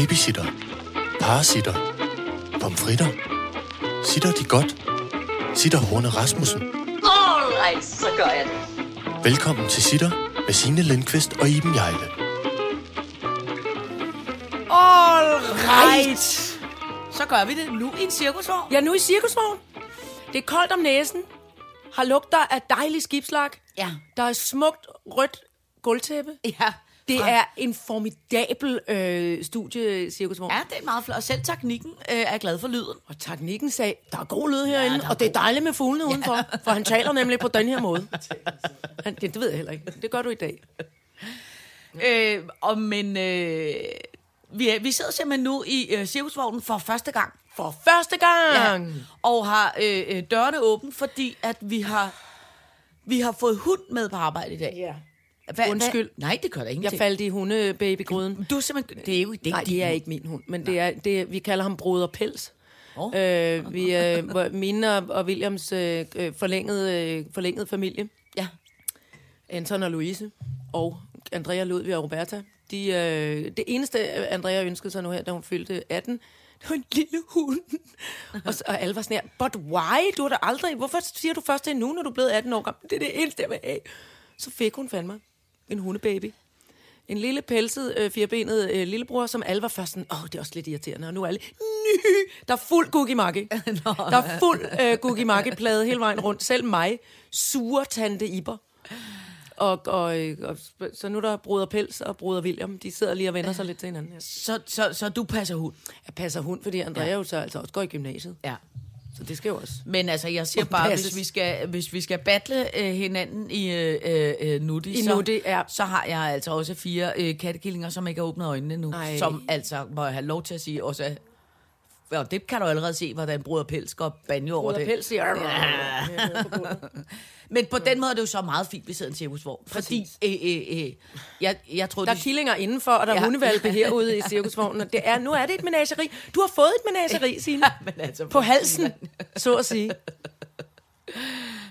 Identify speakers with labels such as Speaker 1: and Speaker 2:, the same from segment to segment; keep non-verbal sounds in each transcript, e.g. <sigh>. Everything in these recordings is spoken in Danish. Speaker 1: Babysitter. Parasitter. Pomfritter. Sitter de godt? Sitter Horne Rasmussen.
Speaker 2: All right, så gør jeg det.
Speaker 1: Velkommen til Sitter med Signe Lindqvist og Iben Jejle.
Speaker 3: All right. Så gør vi det nu i en cirkusvogn.
Speaker 4: Ja, nu i cirkusvogn. Det er koldt om næsen. Har lugter af dejlig skibslak.
Speaker 3: Ja.
Speaker 4: Der er smukt rødt gulvtæppe.
Speaker 3: Ja.
Speaker 4: Det
Speaker 3: Fra-
Speaker 4: er en formidabel øh, studiecirkusvogn.
Speaker 3: Ja, det er meget flot. Og selv teknikken øh, er glad for lyden.
Speaker 4: Og teknikken sagde, der er god lyd herinde,
Speaker 3: der er
Speaker 4: ja, og det er dejligt med fuglene ja. udenfor, for han taler nemlig på den her måde. Han, det, det ved jeg heller ikke. Det gør du i dag.
Speaker 3: Øh, og men øh, vi, er- vi sidder simpelthen nu i øh, cirkusvognen for første gang.
Speaker 4: For første gang! Ja.
Speaker 3: Og har øh, øh, dørene åbne, fordi at vi har, vi har fået hund med på arbejde i dag.
Speaker 4: Ja.
Speaker 3: Hva,
Speaker 4: Undskyld.
Speaker 3: Hva? Nej, det gør der
Speaker 4: Jeg
Speaker 3: ingenting.
Speaker 4: faldt i hundebabygryden.
Speaker 3: Du er simpelthen... Det er jo det,
Speaker 4: Nej, det er ikke min hund, men det er, det er, vi kalder ham Broder Pels. Oh. Øh, vi er hvor mine og, og Williams øh, øh, forlængede, øh, forlængede familie.
Speaker 3: Ja.
Speaker 4: Anton og Louise og Andrea Ludvig og Roberta. De, øh, det eneste, Andrea ønskede sig nu her, da hun fyldte 18, det var en lille hund. og, så, og alle var sådan her, but why? Du har da aldrig... Hvorfor siger du først det nu, når du er blevet 18 år gammel? Det er det eneste, jeg vil have. Så fik hun fandme en hundebaby. En lille pelset, øh, firbenet øh, lillebror, som alle var først sådan, åh, det er også lidt irriterende, og nu er alle, ny, der er fuld gugimakke. der er fuld øh, gugimakke-plade hele vejen rundt. Selv mig, sure tante Iber. Og, og, øh, og, sp- så nu er der Broder Pels og Broder William, de sidder lige og vender sig lidt til hinanden. her.
Speaker 3: Så, så, så du passer hund.
Speaker 4: Jeg passer hund, fordi Andrea jo så altså også går i gymnasiet,
Speaker 3: Ja.
Speaker 4: så det skal jo også.
Speaker 3: Men altså, jeg siger
Speaker 4: Og
Speaker 3: bare,
Speaker 4: passes.
Speaker 3: hvis vi, skal, hvis vi skal battle øh, hinanden i øh, øh, øh, Nutti,
Speaker 4: I
Speaker 3: så,
Speaker 4: Nutti, ja.
Speaker 3: så har jeg altså også fire øh, kattekillinger, som ikke har åbnet øjnene nu.
Speaker 4: Ej.
Speaker 3: Som altså, må jeg have lov til at sige, også er, og det kan du allerede se, hvordan bruder pels går banjo over
Speaker 4: Broder
Speaker 3: det.
Speaker 4: Pels siger,
Speaker 3: <laughs> Men på den måde er det jo så meget fint, vi sidder i en cirkusvogn. Fordi øh, øh, øh, jeg, jeg troede,
Speaker 4: der er killinger indenfor, og der er
Speaker 3: Ja.
Speaker 4: ja. hundevalpe herude i cirkusvognen. og Det er, nu er det et menageri. Du har fået et
Speaker 3: <laughs>
Speaker 4: menageri, Signe.
Speaker 3: men altså,
Speaker 4: På halsen, så at sige.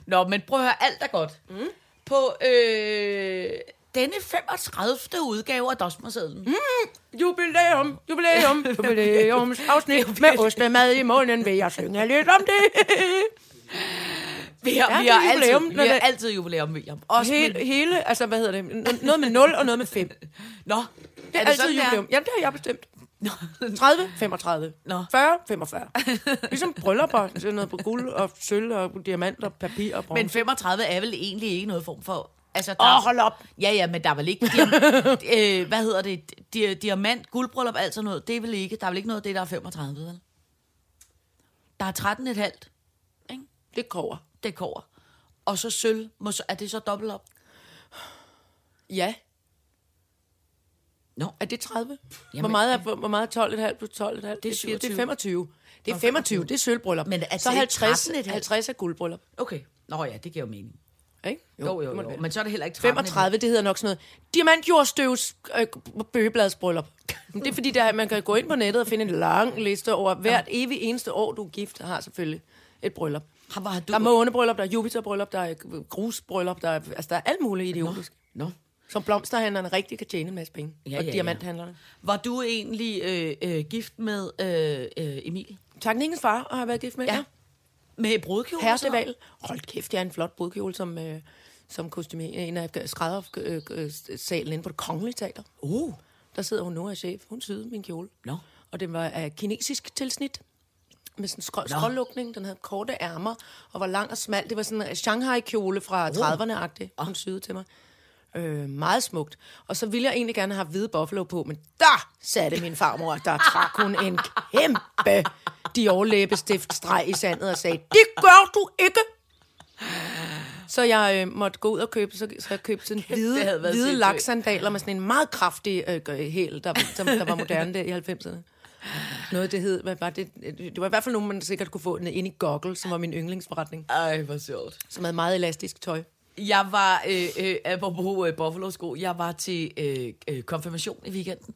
Speaker 3: Nå, men prøv at høre, alt er godt. Mm. På øh, denne 35. udgave af Dosmersedlen, mm.
Speaker 4: Jubilæum, jubilæum, jubilæumsafsnit med ostemad i munden, vil jeg synge lidt om det.
Speaker 3: vi har,
Speaker 4: Ja,
Speaker 3: vi
Speaker 4: det er
Speaker 3: har,
Speaker 4: jubilæum,
Speaker 3: altid,
Speaker 4: når
Speaker 3: vi har
Speaker 4: det-
Speaker 3: altid jubilæum, William. Også Helt.
Speaker 4: Hele,
Speaker 3: Men,
Speaker 4: hele, altså hvad hedder det, N- noget med 0 og noget med 5. <laughs> Det
Speaker 3: nå, er det
Speaker 4: er, altid jubilæum. Jamen, det har jeg bestemt.
Speaker 3: <laughs>
Speaker 4: 30, 35.
Speaker 3: Nå.
Speaker 4: 40, <laughs> 45. Ligesom bryllupper, sådan noget på guld og sølv og diamant og papir og bronze.
Speaker 3: Men 35 er vel egentlig ikke noget form for... Altså, der
Speaker 4: Åh,
Speaker 3: er-
Speaker 4: hold op.
Speaker 3: Ja, ja, men der er vel ikke...
Speaker 4: <laughs>
Speaker 3: Diam- øh, hvad hedder det? Di- diamant, guldbryllup, alt sådan noget. Det er vel ikke... Der er vel ikke noget af det, der er 35, vel? Der er 13 et halvt. Ikke?
Speaker 4: det kover.
Speaker 3: Det kommer. Og så sølv. Må så- Er det så dobbelt op?
Speaker 4: Ja.
Speaker 3: Nå.
Speaker 4: Er det 30? Jamen, hvor,
Speaker 3: Jamen-
Speaker 4: meget er, hvor hvor meget er 12,5 plus 12,5? Det er, fire- Det
Speaker 3: 27.
Speaker 4: er 25. Det er 25, det er sølvbryllup.
Speaker 3: Men er
Speaker 4: så
Speaker 3: det
Speaker 4: 50,
Speaker 3: 13,5?
Speaker 4: 50 er guldbryllup.
Speaker 3: Okay. Nå ja, det giver jo mening.
Speaker 4: Ikke?
Speaker 3: Jo, jo,
Speaker 4: det må
Speaker 3: jo.
Speaker 4: det
Speaker 3: jo.
Speaker 4: være.
Speaker 3: Men så er det heller ikke 13.
Speaker 4: 35, det hedder nok sådan noget diamantjordstøvs øh, bøgebladsbryllup. Men Det er fordi, der, er- man kan gå ind på nettet og finde en lang liste over hvert evig eneste år, du er gift, har selvfølgelig et bryllup.
Speaker 3: Har- hvor har du-
Speaker 4: Der er månebryllup, der er jupiterbryllup, der er øh, grusbryllup, der er, altså, der er alt muligt idiotisk.
Speaker 3: Nå.
Speaker 4: Som blomsterhandlerne rigtig kan tjene en masse penge.
Speaker 3: Ja,
Speaker 4: Ja, og
Speaker 3: ja, ja.
Speaker 4: diamanthandlerne.
Speaker 3: Var du egentlig øh, øh, gift med øh, øh, Emil?
Speaker 4: Teknikkens far har jeg været gift med.
Speaker 3: Ja. Med brudkjole? og sådan noget?
Speaker 4: Herredeval. Hold kæft, jeg er en flot brudkjole, som, øh, som kostume en af skræddersalen øh, salen inde på det kongelige teater.
Speaker 3: Uh.
Speaker 4: Der sidder hun nu og er chef. Hun syede min kjole.
Speaker 3: Nå.
Speaker 4: Og den var af kinesisk tilsnit. Med sådan en skrål, skrålukning. Den havde korte ærmer og var lang og smal. Det var sådan en Shanghai-kjole fra 30'erne-agtig. Hun syede til mig. Øh, meget smukt. Og så ville jeg egentlig gerne have hvide buffalo på, men der satte min farmor, der trak hun en kæmpe Dior læbestift streg i sandet og sagde, det gør du ikke! Så jeg øh, måtte gå ud og købe, så, så jeg købte sådan
Speaker 3: det
Speaker 4: hvide,
Speaker 3: havde været
Speaker 4: hvide
Speaker 3: sindssygt.
Speaker 4: laksandaler med sådan en meget kraftig øh, gø- hæl, der, som, der var moderne der i 90'erne. Noget, det hed, hvad var det? Det var i hvert fald nogen, man sikkert kunne få den inde i Goggle, som var min yndlingsforretning,
Speaker 3: Ej, hvor sjovt.
Speaker 4: som havde meget elastisk tøj.
Speaker 3: Jeg var, øh, øh, apropos øh, Buffalo-sko, jeg var til øh, øh, konfirmation i weekenden,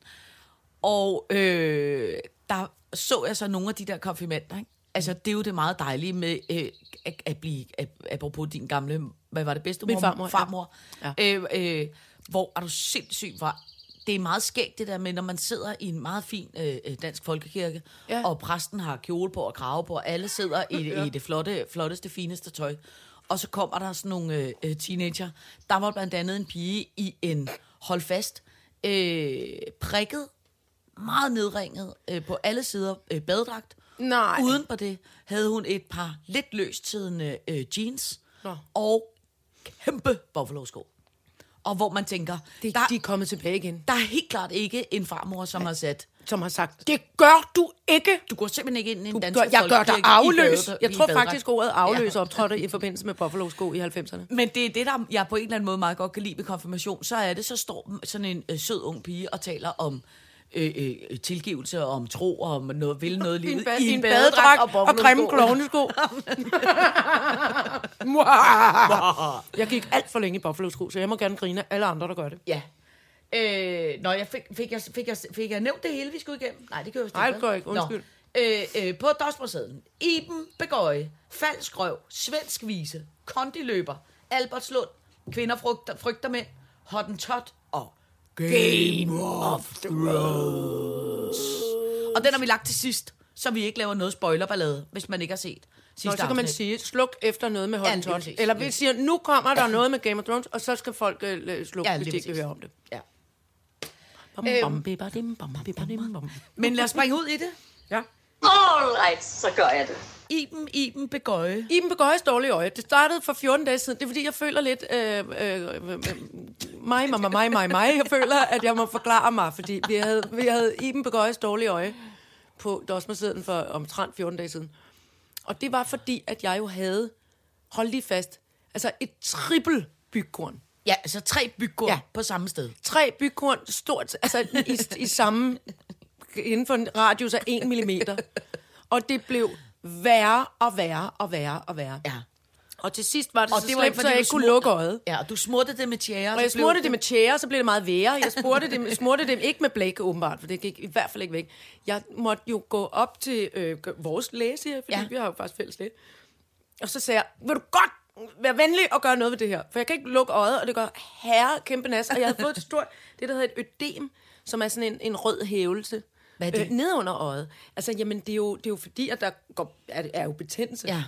Speaker 3: og øh, der så jeg så nogle af de der konfirmander, ikke? Altså, det er jo det meget dejlige med øh, at, at blive, at, apropos din gamle, hvad var det bedste?
Speaker 4: Min farmor, ja.
Speaker 3: farmor.
Speaker 4: Ja.
Speaker 3: Øh, øh, hvor er du sindssygt var. Det er meget skægt det der med, når man sidder i en meget fin øh, øh, dansk folkekirke, ja.
Speaker 4: Ja.
Speaker 3: og præsten har kjole på og krave på, og alle sidder
Speaker 4: <laughs>
Speaker 3: i, ja. i det flotte, flotteste, fineste tøj. Og så kommer der sådan nogle øh, øh, teenager. Der var blandt andet en pige i en, hold fast, øh, prikket, meget nedringet øh, på alle sider øh, badedragt.
Speaker 4: Nej.
Speaker 3: Uden på det havde hun et par lidt løst siddende øh, jeans
Speaker 4: Nå.
Speaker 3: og kæmpe buffalo-sko. Og hvor man tænker,
Speaker 4: Det,
Speaker 3: der,
Speaker 4: de er kommet tilbage igen,
Speaker 3: der er helt klart ikke en farmor, som har sat
Speaker 4: som har sagt, det gør du ikke!
Speaker 3: du går simpelthen ikke ind i en
Speaker 4: Du
Speaker 3: dansk
Speaker 4: gør, jeg gør dig afløs. Jeg tror faktisk, ordet afløs optrådte i forbindelse med Buffalo-sko i 90'erne.
Speaker 3: Men det er det, der jeg på en eller anden måde meget godt kan lide ved konfirmation. Så er det, så står sådan en øh, sød ung pige og taler om øh, øh, tilgivelse og om tro og om noget, vil noget i livet.
Speaker 4: I en badedragt og, og grimme
Speaker 3: buffalosko. <laughs>
Speaker 4: klovnesko. jeg gik alt for længe i Buffalo-sko, så jeg må gerne grine af alle andre, der gør det.
Speaker 3: Ja. Øh, nå, jeg fik, fik, jeg, fik, jeg, fik jeg nævnt det hele, vi skulle igennem? Nej, det gør jeg vist
Speaker 4: Nej,
Speaker 3: ikke,
Speaker 4: det gør jeg
Speaker 3: vel?
Speaker 4: ikke. Undskyld.
Speaker 3: Nå. Øh, øh, på Dosmersedlen. Iben Begøje, Falsk Røv, Svensk Vise, Kondiløber, Albertslund, Kvinder frygter, frygter mænd, Hottentot og Game of Thrones. Og den har vi lagt til sidst, så vi ikke laver noget spoilerballade, hvis man ikke har set sidste
Speaker 4: Nå, så kan man
Speaker 3: afsnit.
Speaker 4: sige, sluk efter noget med
Speaker 3: Ja, lige
Speaker 4: Hottentot.
Speaker 3: præcis.
Speaker 4: Eller vi siger, nu kommer der noget med Game of Thrones, og så skal folk øh, slukke,
Speaker 3: Ja,
Speaker 4: hvis
Speaker 3: lige
Speaker 4: de ikke vil
Speaker 3: præcis.
Speaker 4: høre om det.
Speaker 3: Ja.
Speaker 4: Bam, bam, bibadim, bam, bibadim, bam.
Speaker 3: Men lad os springe ud i det.
Speaker 4: Ja.
Speaker 2: All right, så gør jeg det.
Speaker 3: Iben, Iben Begøje.
Speaker 4: Iben Begøjes dårlige øje. Det startede for 14 dage siden. Det er fordi, jeg føler lidt... Øh, øh, øh, mig, mig, mig, mig, mig, mig. Jeg føler, at jeg må forklare mig, fordi vi havde, vi havde Iben Begøjes dårlige øje på Dosmersiden for omtrent 14 dage siden. Og det var fordi, at jeg jo havde, hold lige fast, altså et trippel bygkorn.
Speaker 3: Ja, altså tre bygger ja.
Speaker 4: Ja.
Speaker 3: på samme sted.
Speaker 4: Tre bygkorn stort, altså i, i samme, inden for en radius af 1 millimeter. Og det blev værre og værre og værre og værre.
Speaker 3: Ja.
Speaker 4: Og til sidst var det og så det var
Speaker 3: ikke,
Speaker 4: slemt, så
Speaker 3: fordi
Speaker 4: jeg
Speaker 3: du
Speaker 4: ikke kunne
Speaker 3: smur-
Speaker 4: lukke øjet.
Speaker 3: Ja, og du smurte det med tjære.
Speaker 4: Og jeg smurte det med tjære, så blev det meget værre. Jeg smurte
Speaker 3: <laughs>
Speaker 4: det, med- smurte det ikke med blæk, åbenbart, for det gik i hvert fald ikke væk. Jeg måtte jo gå op til øh, g- vores læge, siger jeg, fordi
Speaker 3: Ja.
Speaker 4: ja. vi har jo faktisk fælles læge. Og så sagde jeg, vil du godt være venlig og gøre noget ved det her? For jeg kan ikke lukke øjet, og det gør herre kæmpe nas. Og jeg havde fået et
Speaker 3: <laughs>
Speaker 4: stort, det der hedder et ødem, som er sådan en, en rød hævelse.
Speaker 3: Hvad er det?
Speaker 4: Øh, ned under øjet. Altså, jamen, det er jo, det er jo fordi, at der går, er, er jo betændelse.
Speaker 3: Ja.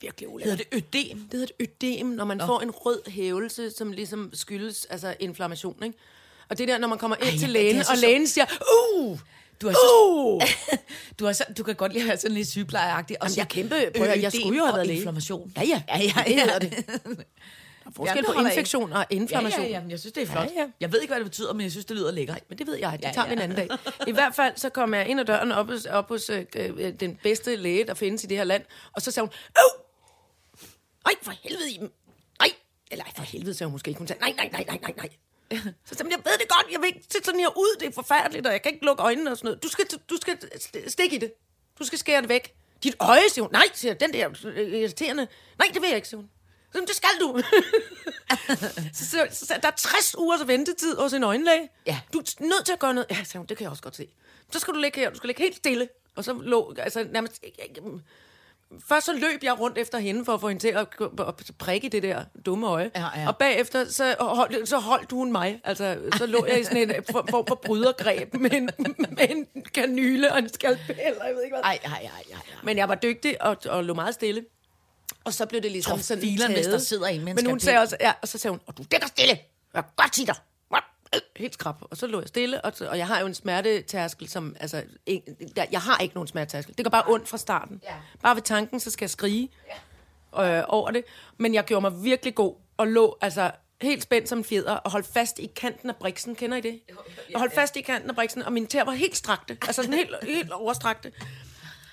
Speaker 4: Virkelig ulækkert.
Speaker 3: Hedder det ødem?
Speaker 4: Det hedder et ødem, når man Nå. får en rød hævelse, som ligesom skyldes altså inflammation, ikke? Og det der, når man kommer ind
Speaker 3: Ej,
Speaker 4: Ej, til
Speaker 3: ja, det
Speaker 4: lægen,
Speaker 3: er så
Speaker 4: og
Speaker 3: sjovt.
Speaker 4: lægen siger, uh,
Speaker 3: Du er så,
Speaker 4: uh,
Speaker 3: du, er så, du kan godt lide at være sådan lidt sygeplejeagtig. Og Øh,
Speaker 4: Jamen,
Speaker 3: sige,
Speaker 4: jeg er kæmpe- prøv at høre, jeg
Speaker 3: ødem
Speaker 4: skulle jo have
Speaker 3: og
Speaker 4: været læge.
Speaker 3: inflammation.
Speaker 4: Ja, ja.
Speaker 3: ja, ja, ja.
Speaker 4: Det hedder det. forskel
Speaker 3: det
Speaker 4: på
Speaker 3: holder
Speaker 4: infektion og inflammation.
Speaker 3: Ja, ja, ja, men jeg synes, det er flot. Ja,
Speaker 4: Ja,
Speaker 3: ja.
Speaker 4: ja.
Speaker 3: Jeg ved ikke, hvad det betyder, men jeg synes, det lyder lækkert.
Speaker 4: Men det ved jeg, det
Speaker 3: Ja,
Speaker 4: ja, tager
Speaker 3: ja.
Speaker 4: vi en anden dag. I hvert fald så kom jeg ind ad døren op, hos- op hos øh, øh, den bedste læge, der findes i det her land, og så sagde hun, "Uh, Øv! Ej, for helvede, Iben. Nej, eller "Ej, for helvede, sagde hun måske ikke. Hun sagde, nej, nej, nej, nej, nej, nej. Så sagde hun, jeg ved det godt, jeg vil ikke se sådan her ud, det er forfærdeligt, og jeg kan ikke lukke øjnene og sådan noget. Du skal, du skal st- stikke i det. Du skal skære det væk. Dit øje, siger hun. Nej, siger jeg, den der øh, irriterende. Nej, det vil jeg ikke, siger hun. Så, "Jamen, det skal du. <laughs> Så, så, så, så der er 60 ugers ventetid hos en øjenlæge.
Speaker 3: Ja.
Speaker 4: Du er nødt til at gøre noget. Ja, sagde hun, det kan jeg også godt se. Så skal du ligge her, du skal ligge helt stille. Og så lå, altså nærmest... Jeg, jeg, først så løb jeg rundt efter hende for at få hende til at, at prikke i det der dumme øje.
Speaker 3: Ja, ja.
Speaker 4: Og bagefter, så holdt, så holdt hun mig. Altså, så lå jeg i sådan en form for, for brydergreb med en, med en kanyle og en skalpel, og jeg ved ikke hvad.
Speaker 3: Ej, ej, ej, ej. ej.
Speaker 4: Men jeg var dygtig og, og lå meget stille. Og så blev det ligesom
Speaker 3: Tror,
Speaker 4: sådan
Speaker 3: fileren, hvis
Speaker 4: taget.
Speaker 3: der sidder en med en
Speaker 4: Men hun
Speaker 3: skalpel.
Speaker 4: sagde også, ja, og så sagde hun, og du dækker stille. Jeg kan godt sige dig. Øh, Helt skrab. Og så lå jeg stille, og, og jeg har jo en smertetærskel, som, altså, ikke, der, jeg har ikke nogen smertetærskel. Det går bare ondt fra starten. Ja. Bare ved tanken, så skal jeg skrige øh, over det. Men jeg gjorde mig virkelig god og lå altså helt spændt som en fjeder og holdt fast i kanten af briksen. Kender I det? Jeg holdt fast i kanten af briksen, og mine tæer var helt strakte. Altså sådan helt, <laughs> helt overstrakte.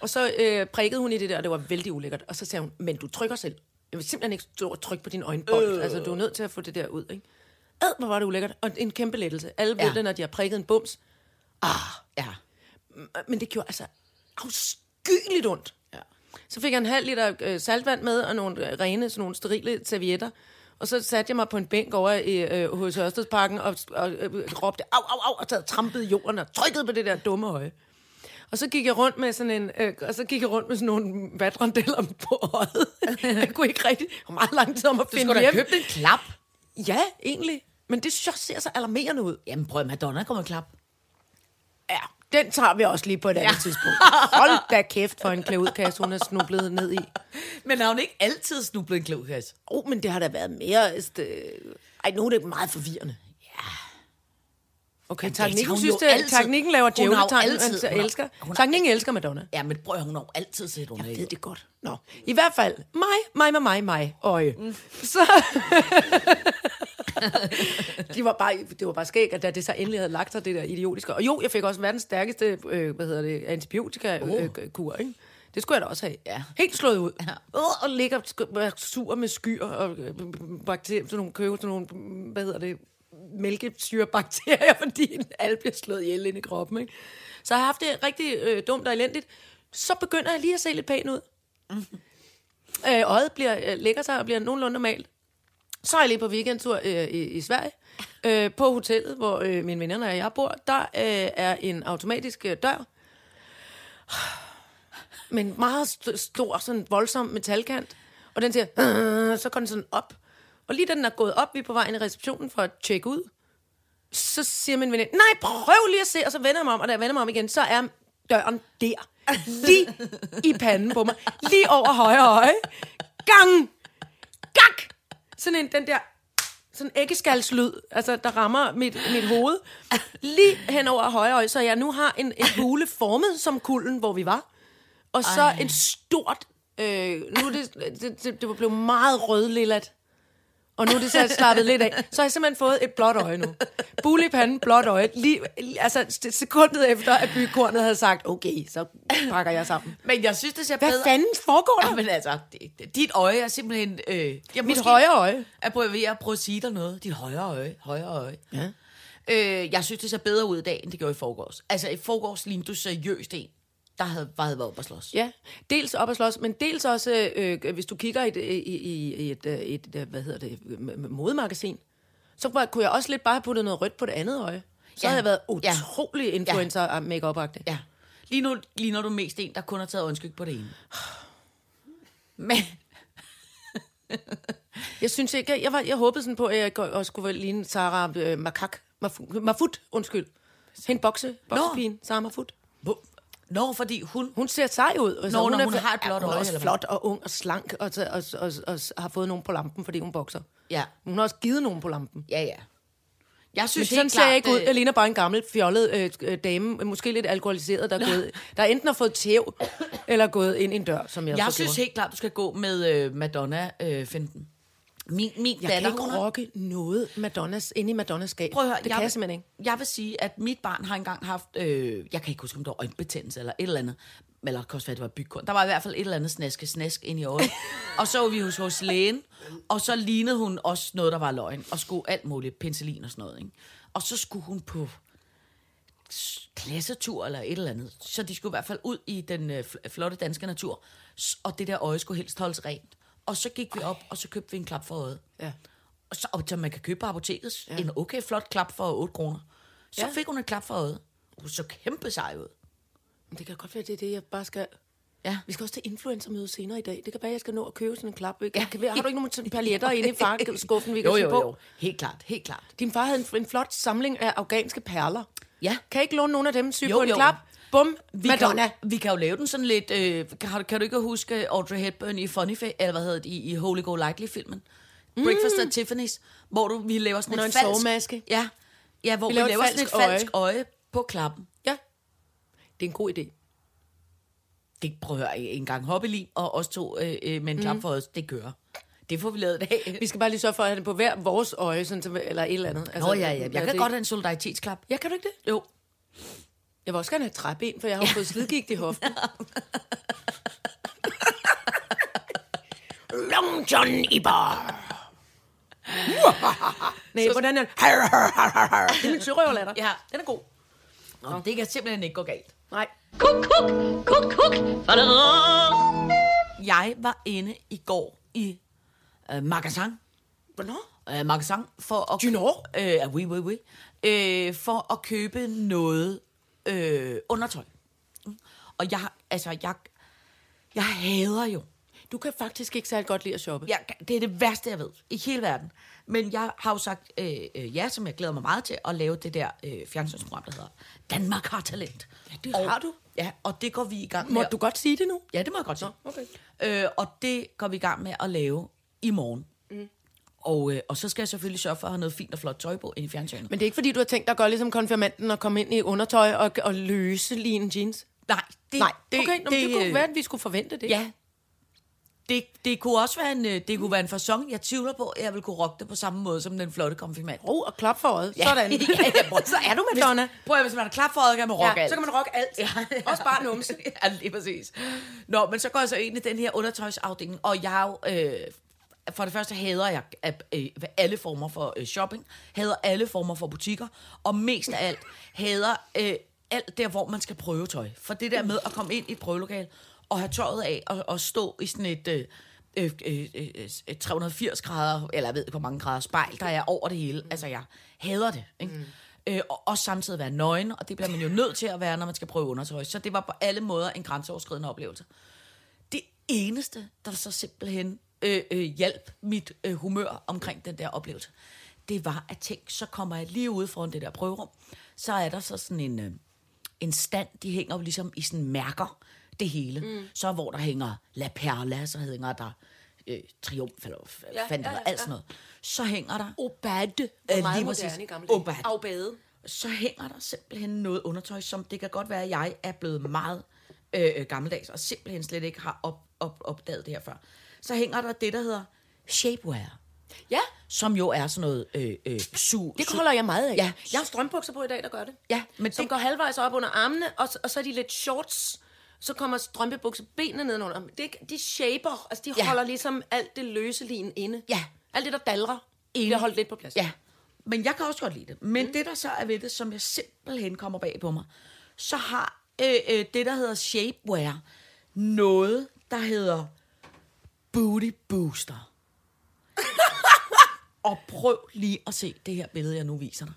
Speaker 4: Og så øh, prikkede hun i det der, og det var vældig ulækkert. Og så sagde hun, men du trykker selv. Jeg vil simpelthen ikke stå og trykke på din øjenbold. Øh. Altså, du er nødt til at få det der ud, ikke? Ad, hvor var det ulækkert. Og en kæmpe lettelse. Alle ja.
Speaker 3: Ja.
Speaker 4: ved det, når de har prikket en bums.
Speaker 3: Ja.
Speaker 4: Men det gjorde altså afskyeligt ondt.
Speaker 3: Ja.
Speaker 4: Så fik jeg en halv liter øh, saltvand med, og nogle øh, rene, sådan nogle sterile servietter. Og så satte jeg mig på en bænk over i øh, hos Ørstedsparken og, og øh, råbte, au, au, au, og så trampede jorden og trykkede på det der dumme øje. Og så gik jeg rundt med sådan en, øh, og så gik jeg rundt med sådan nogle vatrandeller på
Speaker 3: <laughs>
Speaker 4: øjet. jeg kunne ikke rigtig, det var meget lang tid om at
Speaker 3: Du
Speaker 4: finde
Speaker 3: skulle da
Speaker 4: hjem.
Speaker 3: købe en klap.
Speaker 4: Ja, egentlig. Men det synes jeg ser så alarmerende ud.
Speaker 3: Jamen prøv, at Madonna kommer klap.
Speaker 4: Ja, den tager vi også lige på et andet tidspunkt. Hold da kæft for en klæudkasse, hun er snublet ned i.
Speaker 3: Men har hun ikke altid snublet en klogkasse?
Speaker 4: Åh, oh, men det har da været
Speaker 3: øh,
Speaker 4: mere... Este... Ej, nu er det meget forvirrende. Ja. Okay, Jamen,
Speaker 3: det har
Speaker 4: teknikken
Speaker 3: hun
Speaker 4: synes,
Speaker 3: jo
Speaker 4: det,
Speaker 3: altid.
Speaker 4: teknikken laver
Speaker 3: Hun har jo
Speaker 4: djævletegn,
Speaker 3: altid-
Speaker 4: men så
Speaker 3: hun har-
Speaker 4: elsker.
Speaker 3: hun har-
Speaker 4: Teknikken elsker Madonna.
Speaker 3: Ja, men prøv, at hun har jo altid set under
Speaker 4: Jeg
Speaker 3: ægget.
Speaker 4: ved det godt. Nå, i hvert fald, mig, mig, mig, mig, mig, øje. Mm. Så... <laughs> de var bare, det var bare skægt, at da det så endelig havde lagt sig, det der idiotiske. Og jo, jeg fik også verdens stærkeste, øh, hvad hedder det, antibiotika-kur, øh, kur, ikke? Det skulle jeg da også have.
Speaker 3: Oh. Ja.
Speaker 4: Helt slået ud.
Speaker 3: Ja.
Speaker 4: Øh, og ligger sk- og er sur med skyer og øh, bakterier, sådan nogle købe, sådan nogle, hvad hedder det, mælkesyrebakterier, <laughs> fordi en al bliver slået ihjel ind i kroppen. Ikke? Så jeg har haft det rigtig øh, dumt og elendigt. Så begynder jeg lige at se lidt pæn ud. Øh, øjet bliver, øh, lægger sig og bliver nogenlunde normalt. Så er jeg lige på weekendtur øh, i, i Sverige. Øh, på hotellet, hvor øh, mine venner og jeg bor, der øh, er en automatisk øh, dør. Men meget st- stor, sådan voldsom metalkant. Og den siger, "Øh", så går den sådan op. Og lige da den er gået op, vi er på vejen i receptionen for at tjekke ud, så siger min veninde, nej, prøv lige at se, og så vender jeg mig om, og da jeg vender mig om igen, så er døren der. Lige i panden på mig. Lige over højre øje. Gang! Gak! Sådan en, den der sådan æggeskaldslyd, altså, der rammer mit, mit hoved. Lige hen over højre øje, så jeg nu har en, en bule formet som kulden, hvor vi var. Og så Ej. en stort... Øh, nu er det, det, det, det var blevet meget rødlillat. Og nu er det så slappet lidt af. Så har jeg simpelthen fået et blåt øje nu. Bule i panden, blåt øje. Lige, altså st- sekundet efter, at bykornet havde sagt, okay, så pakker jeg sammen. Ah,
Speaker 3: Men jeg synes, det ser
Speaker 4: Hvad
Speaker 3: bedre...
Speaker 4: fanden foregår
Speaker 3: Ja,
Speaker 4: der?
Speaker 3: men altså, det- det- dit øje er simpelthen... Øh, jeg
Speaker 4: Mit højre øje.
Speaker 3: Jeg prøver ved at prøve at sige dig noget. Dit højre øje, højre øje.
Speaker 4: Ja.
Speaker 3: Øh, jeg synes, det ser bedre ud i dag, end det gjorde i forgårs. Altså, i forgårs lignede du seriøst en, der havde, bare havde været op at slås.
Speaker 4: Ja, dels op at slås, men dels også, øh, hvis du kigger i et, i, i i et, øh, et øh, hvad hedder det, m- m- modemagasin, så var- kunne jeg også lidt bare have puttet noget rødt på det andet øje. Så
Speaker 3: Ja.
Speaker 4: ja. havde jeg været
Speaker 3: Ja.
Speaker 4: utrolig influencer ja. make up -agtig.
Speaker 3: ja. Lige nu ligner du mest en, der kun har taget øjenskyg på det ene. Men,
Speaker 4: Jeg synes ikke, jeg, jeg, var, jeg håbede sådan på, at jeg også skulle ligne Sarah øh, Makak. Mafut, Mafut, undskyld. Hende bokse, boksepigen, Sarah Mafut.
Speaker 3: hvor- nå, fordi hun...
Speaker 4: Hun ser sej ud. Altså,
Speaker 3: Nå, når hun
Speaker 4: fa-
Speaker 3: har et blåt
Speaker 4: ja, hun er
Speaker 3: øje,
Speaker 4: også
Speaker 3: eller hvad?
Speaker 4: flot og ung og slank, og, og, og, og, og, og har fået nogen på lampen, fordi hun bokser.
Speaker 3: Ja,
Speaker 4: Hun har også givet nogen på lampen.
Speaker 3: ja, ja. Jeg
Speaker 4: Men
Speaker 3: synes
Speaker 4: sådan
Speaker 3: helt
Speaker 4: ser
Speaker 3: klart,
Speaker 4: jeg ikke ud.
Speaker 3: øh,
Speaker 4: Jeg ligner bare en gammel, fjollet øh, øh, dame, øh, måske lidt alkoholiseret, der, er gået, der enten har fået tæv, eller gået ind i en dør, som jeg,
Speaker 3: Jeg
Speaker 4: så
Speaker 3: synes
Speaker 4: gjorde.
Speaker 3: helt klart, du skal gå med øh, Madonna-finden. min min
Speaker 4: Jeg
Speaker 3: datter,
Speaker 4: kan
Speaker 3: hun
Speaker 4: ikke
Speaker 3: har-
Speaker 4: rocke noget Madonnas, inde i Madonnas skab.
Speaker 3: Prøv at høre,
Speaker 4: det kan
Speaker 3: vil-
Speaker 4: jeg simpelthen ikke.
Speaker 3: Jeg vil sige, at mit barn har engang haft, øh, jeg kan ikke huske, om det var øjenbetændelse eller et eller andet, eller det kan også være, det var bygkorn. Der var i hvert fald et eller andet snaske snask ind i
Speaker 4: <laughs>
Speaker 3: øjet. og så var vi hos, hos lægen, og så lignede hun også noget, der var løgn, og skulle alt muligt, penicillin og sådan noget. Ikke? Og så skulle hun på s- klassetur eller et eller andet. Så de skulle i hvert fald ud i den øh, fl- flotte danske natur, S- og det der øje skulle helst holdes rent. Og så gik vi op, og så købte vi en klap for øjet.
Speaker 4: Ja.
Speaker 3: Og så, og så man kan købe på apoteket ja. en okay flot klap for 8 kroner. Så ja.
Speaker 4: Ja.
Speaker 3: fik hun et klap for øjet. Hun så kæmpe sej ud.
Speaker 4: Men Det kan godt være, det er det, jeg bare skal...
Speaker 3: Ja.
Speaker 4: Vi skal også til influencermøde senere i dag. Det kan være, jeg skal nå at købe sådan en klap. Ikke? Kan vi, har du ikke
Speaker 3: <laughs>
Speaker 4: nogen sådan paljetter inde i farskuffen, vi kan
Speaker 3: Jo,
Speaker 4: se
Speaker 3: jo,
Speaker 4: på?
Speaker 3: jo. Helt klart, helt klart.
Speaker 4: Din far havde en, en flot samling af afghanske perler.
Speaker 3: Ja.
Speaker 4: Kan jeg ikke låne nogen af dem, sy
Speaker 3: Jo,
Speaker 4: på en
Speaker 3: jo.
Speaker 4: klap? Bum,
Speaker 3: Vi
Speaker 4: Madonna.
Speaker 3: Kan jo, vi kan jo lave den sådan lidt... Øh, kan, har du- kan du ikke huske Audrey Hepburn i Funny Face, eller hvad hedder det, i, i Holy Go Likely-filmen? Breakfast at Tiffany's, hvor du, vi laver sådan
Speaker 4: Mm. Hun
Speaker 3: et
Speaker 4: har en
Speaker 3: falsk...
Speaker 4: sovemaske.
Speaker 3: Ja, ja hvor vi,
Speaker 4: laver
Speaker 3: laver,
Speaker 4: et
Speaker 3: sådan et
Speaker 4: falsk øje.
Speaker 3: falsk øje. på klappen.
Speaker 4: Ja. Det er en god idé.
Speaker 3: Det prøver jeg ikke engang hoppeli, og os to øh, øh, med en
Speaker 4: Mm.
Speaker 3: klap for øjet, det kører. Det får vi lavet i
Speaker 4: <laughs>
Speaker 3: dag.
Speaker 4: Vi skal bare lige sørge for at have den på hver vores øje, sådan, så- eller et eller andet.
Speaker 3: Nå ja, ja. Jeg
Speaker 4: er
Speaker 3: kan
Speaker 4: det-
Speaker 3: godt have en solidaritetsklap.
Speaker 4: Ja, kan du ikke det?
Speaker 3: Jo.
Speaker 4: Jeg vil også gerne have træben, for jeg har jo fået
Speaker 3: <laughs>
Speaker 4: slidgigt i hoften.
Speaker 3: Nå,
Speaker 4: Long John i bar. Nej, hvordan er det? Det er min sørøverlatter.
Speaker 3: Ja, den er god. Nå, det kan simpelthen ikke gå galt.
Speaker 4: Nej.
Speaker 2: Kuk, kuk, kuk, kuk.
Speaker 3: Jeg var inde i går i øh, Magasin.
Speaker 4: Hvornår?
Speaker 3: øh, magasin for at...
Speaker 4: Du know?
Speaker 3: Øh, ja, oui, oui, oui. Øh, for at købe noget øh, undertøj. Mm. Og jeg, altså, jeg, jeg hader jo.
Speaker 4: Du kan faktisk ikke særlig godt lide at shoppe.
Speaker 3: Jeg, det er det værste, jeg ved i hele verden. Men jeg har jo sagt øh, øh, ja, som jeg glæder mig meget til, at lave det der øh, fjernsynsprogram, der hedder Danmark har talent. Ja,
Speaker 4: det har du.
Speaker 3: Ja, og det går vi i gang
Speaker 4: Må
Speaker 3: med.
Speaker 4: du godt sige det nu?
Speaker 3: Ja, det må jeg godt sige. Okay. Øh, og det går vi i gang med at lave i morgen. Mm. Og, øh, og så skal jeg selvfølgelig sørge for at have noget fint og flot tøj på inde i fjernsynet. Men,
Speaker 4: Men det er ikke, fordi du har tænkt dig at gøre ligesom konfirmanden og komme ind i undertøj og, og løse lige en jeans?
Speaker 3: nej, det,
Speaker 4: Nej,
Speaker 3: det,
Speaker 4: okay, det, nå, men det, det kunne
Speaker 3: øh,
Speaker 4: være, at vi skulle forvente det.
Speaker 3: Ja. Det, det kunne også være en, øh, det kunne være en fasong. Jeg tvivler på, at jeg vil kunne rocke det på samme måde som den flotte konfirmand.
Speaker 4: Ro og klap for øjet. <laughs> Ja. Sådan.
Speaker 3: ja, <laughs> ja, prøv.
Speaker 4: Så er du Madonna.
Speaker 3: Hvis, prøv at, hvis man er klar for at kan man rocke
Speaker 4: ja,
Speaker 3: alt.
Speaker 4: så kan man rocke alt. Ja. <laughs> Også bare numse.
Speaker 3: <laughs> ja, lige præcis. Nå, men så går jeg så ind i den her undertøjsafdeling, og jeg er jo, øh, for det første hader jeg at, øh, alle former for øh, shopping, hader alle former for butikker, og mest af alt hader øh, alt der, hvor man skal prøve tøj. For det der med at komme ind i et prøvelokal og have tøjet af og, og stå i sådan et... Øh, øh, øh, øh, øh, 380 grader, eller jeg ved ikke, hvor mange grader spejl, der er over det hele. Altså, jeg hader det. Ikke? Mm. Øh, og også samtidig være nøgen, og det bliver man jo nødt til at være, når man skal prøve undertøj. Så det var på alle måder en grænseoverskridende oplevelse. Det eneste, der så simpelthen øh, øh, hjalp mit øh, humør omkring den der oplevelse, det var at tænke, så kommer jeg lige ud foran det der prøverum, så er der så sådan en, øh, en stand, de hænger jo ligesom i sådan mærker, det hele. Mm. Så hvor der hænger La Perla, så hænger der øh, Triumf, eller ja, fandt ja, ja, alt sådan noget. Så hænger der
Speaker 4: Obade.
Speaker 3: Ja,
Speaker 4: Hvor meget
Speaker 3: lige
Speaker 4: moderne
Speaker 3: præcis.
Speaker 4: i gamle dage.
Speaker 3: Obade.
Speaker 4: Afbade.
Speaker 3: så hænger der simpelthen noget undertøj, som det kan godt være, at jeg er blevet meget øh, øh, gammeldags, og simpelthen slet ikke har op, op, opdaget det her før. Så hænger der det, der hedder shapewear,
Speaker 4: Ja,
Speaker 3: som jo er sådan noget øh, øh, su...
Speaker 4: det
Speaker 3: su-
Speaker 4: holder jeg meget af.
Speaker 3: Ja.
Speaker 4: Jeg har strømbukser på i dag, der gør det.
Speaker 3: Ja, men
Speaker 4: Som
Speaker 3: det-
Speaker 4: går halvvejs op under armene, og, og så er de lidt shorts. Så kommer strømpebukser benene nedenunder. Men Det, de shaper, altså de
Speaker 3: Ja.
Speaker 4: ja. holder ligesom alt det løse lin inde.
Speaker 3: Ja.
Speaker 4: Alt det, der dalrer, inde. bliver holdt lidt på plads.
Speaker 3: Ja, men jeg kan også godt lide det. Men mm. det, der så er ved det, som jeg simpelthen kommer bag på mig, så har øh, øh, det, der hedder shapewear, noget, der hedder booty
Speaker 4: <laughs>
Speaker 3: booster. og prøv lige at se det her billede, jeg nu viser dig.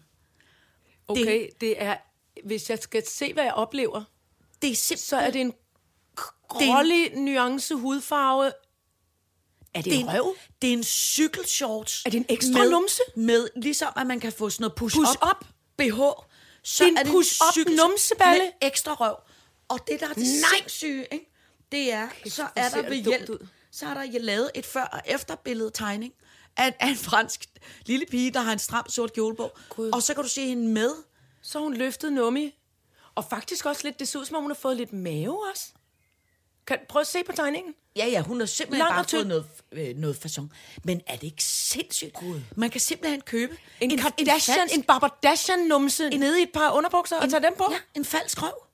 Speaker 4: Okay, det er... Hvis jeg skal se, hvad jeg oplever,
Speaker 3: Det er simpelthen...
Speaker 4: så er det en
Speaker 3: det er en-
Speaker 4: grålig nuance hudfarve. Er
Speaker 3: det
Speaker 4: det, det
Speaker 3: er
Speaker 4: en røv?
Speaker 3: Det er en cykelshorts.
Speaker 4: Er det en ekstra
Speaker 3: med,
Speaker 4: numse?
Speaker 3: Med, ligesom at man kan få sådan noget push,
Speaker 4: Push
Speaker 3: up,
Speaker 4: up?
Speaker 3: BH. Så
Speaker 4: Det er en push up
Speaker 3: cykelshorts
Speaker 4: numseballe?
Speaker 3: Med ekstra røv. Og det, der er det
Speaker 4: Nej!
Speaker 3: sindssyge, ikke? det er, så
Speaker 4: hvor
Speaker 3: er
Speaker 4: ser
Speaker 3: der
Speaker 4: det
Speaker 3: ved
Speaker 4: dumt
Speaker 3: hjælp,
Speaker 4: ud.
Speaker 3: så er der lavet et før- og efterbillede tegning af, af en fransk lille pige, der har en stram sort kjole på.
Speaker 4: Gud.
Speaker 3: Og så kan du se hende med.
Speaker 4: Så har hun løftet nummi. Og faktisk også lidt, det ser ud som om, hun har fået lidt mave også. Kan, prøv at se på tegningen.
Speaker 3: Ja, ja, hun har simpelthen
Speaker 4: Lang
Speaker 3: bare
Speaker 4: og tynd.
Speaker 3: fået noget, øh, noget fasong. Men er det ikke sindssygt? God. Man kan simpelthen købe
Speaker 4: En, en Kardashian, en, en Barbadashian-numse nede i et par underbukser og tage dem på.
Speaker 3: Ja,
Speaker 4: Ja.
Speaker 3: en falsk røv.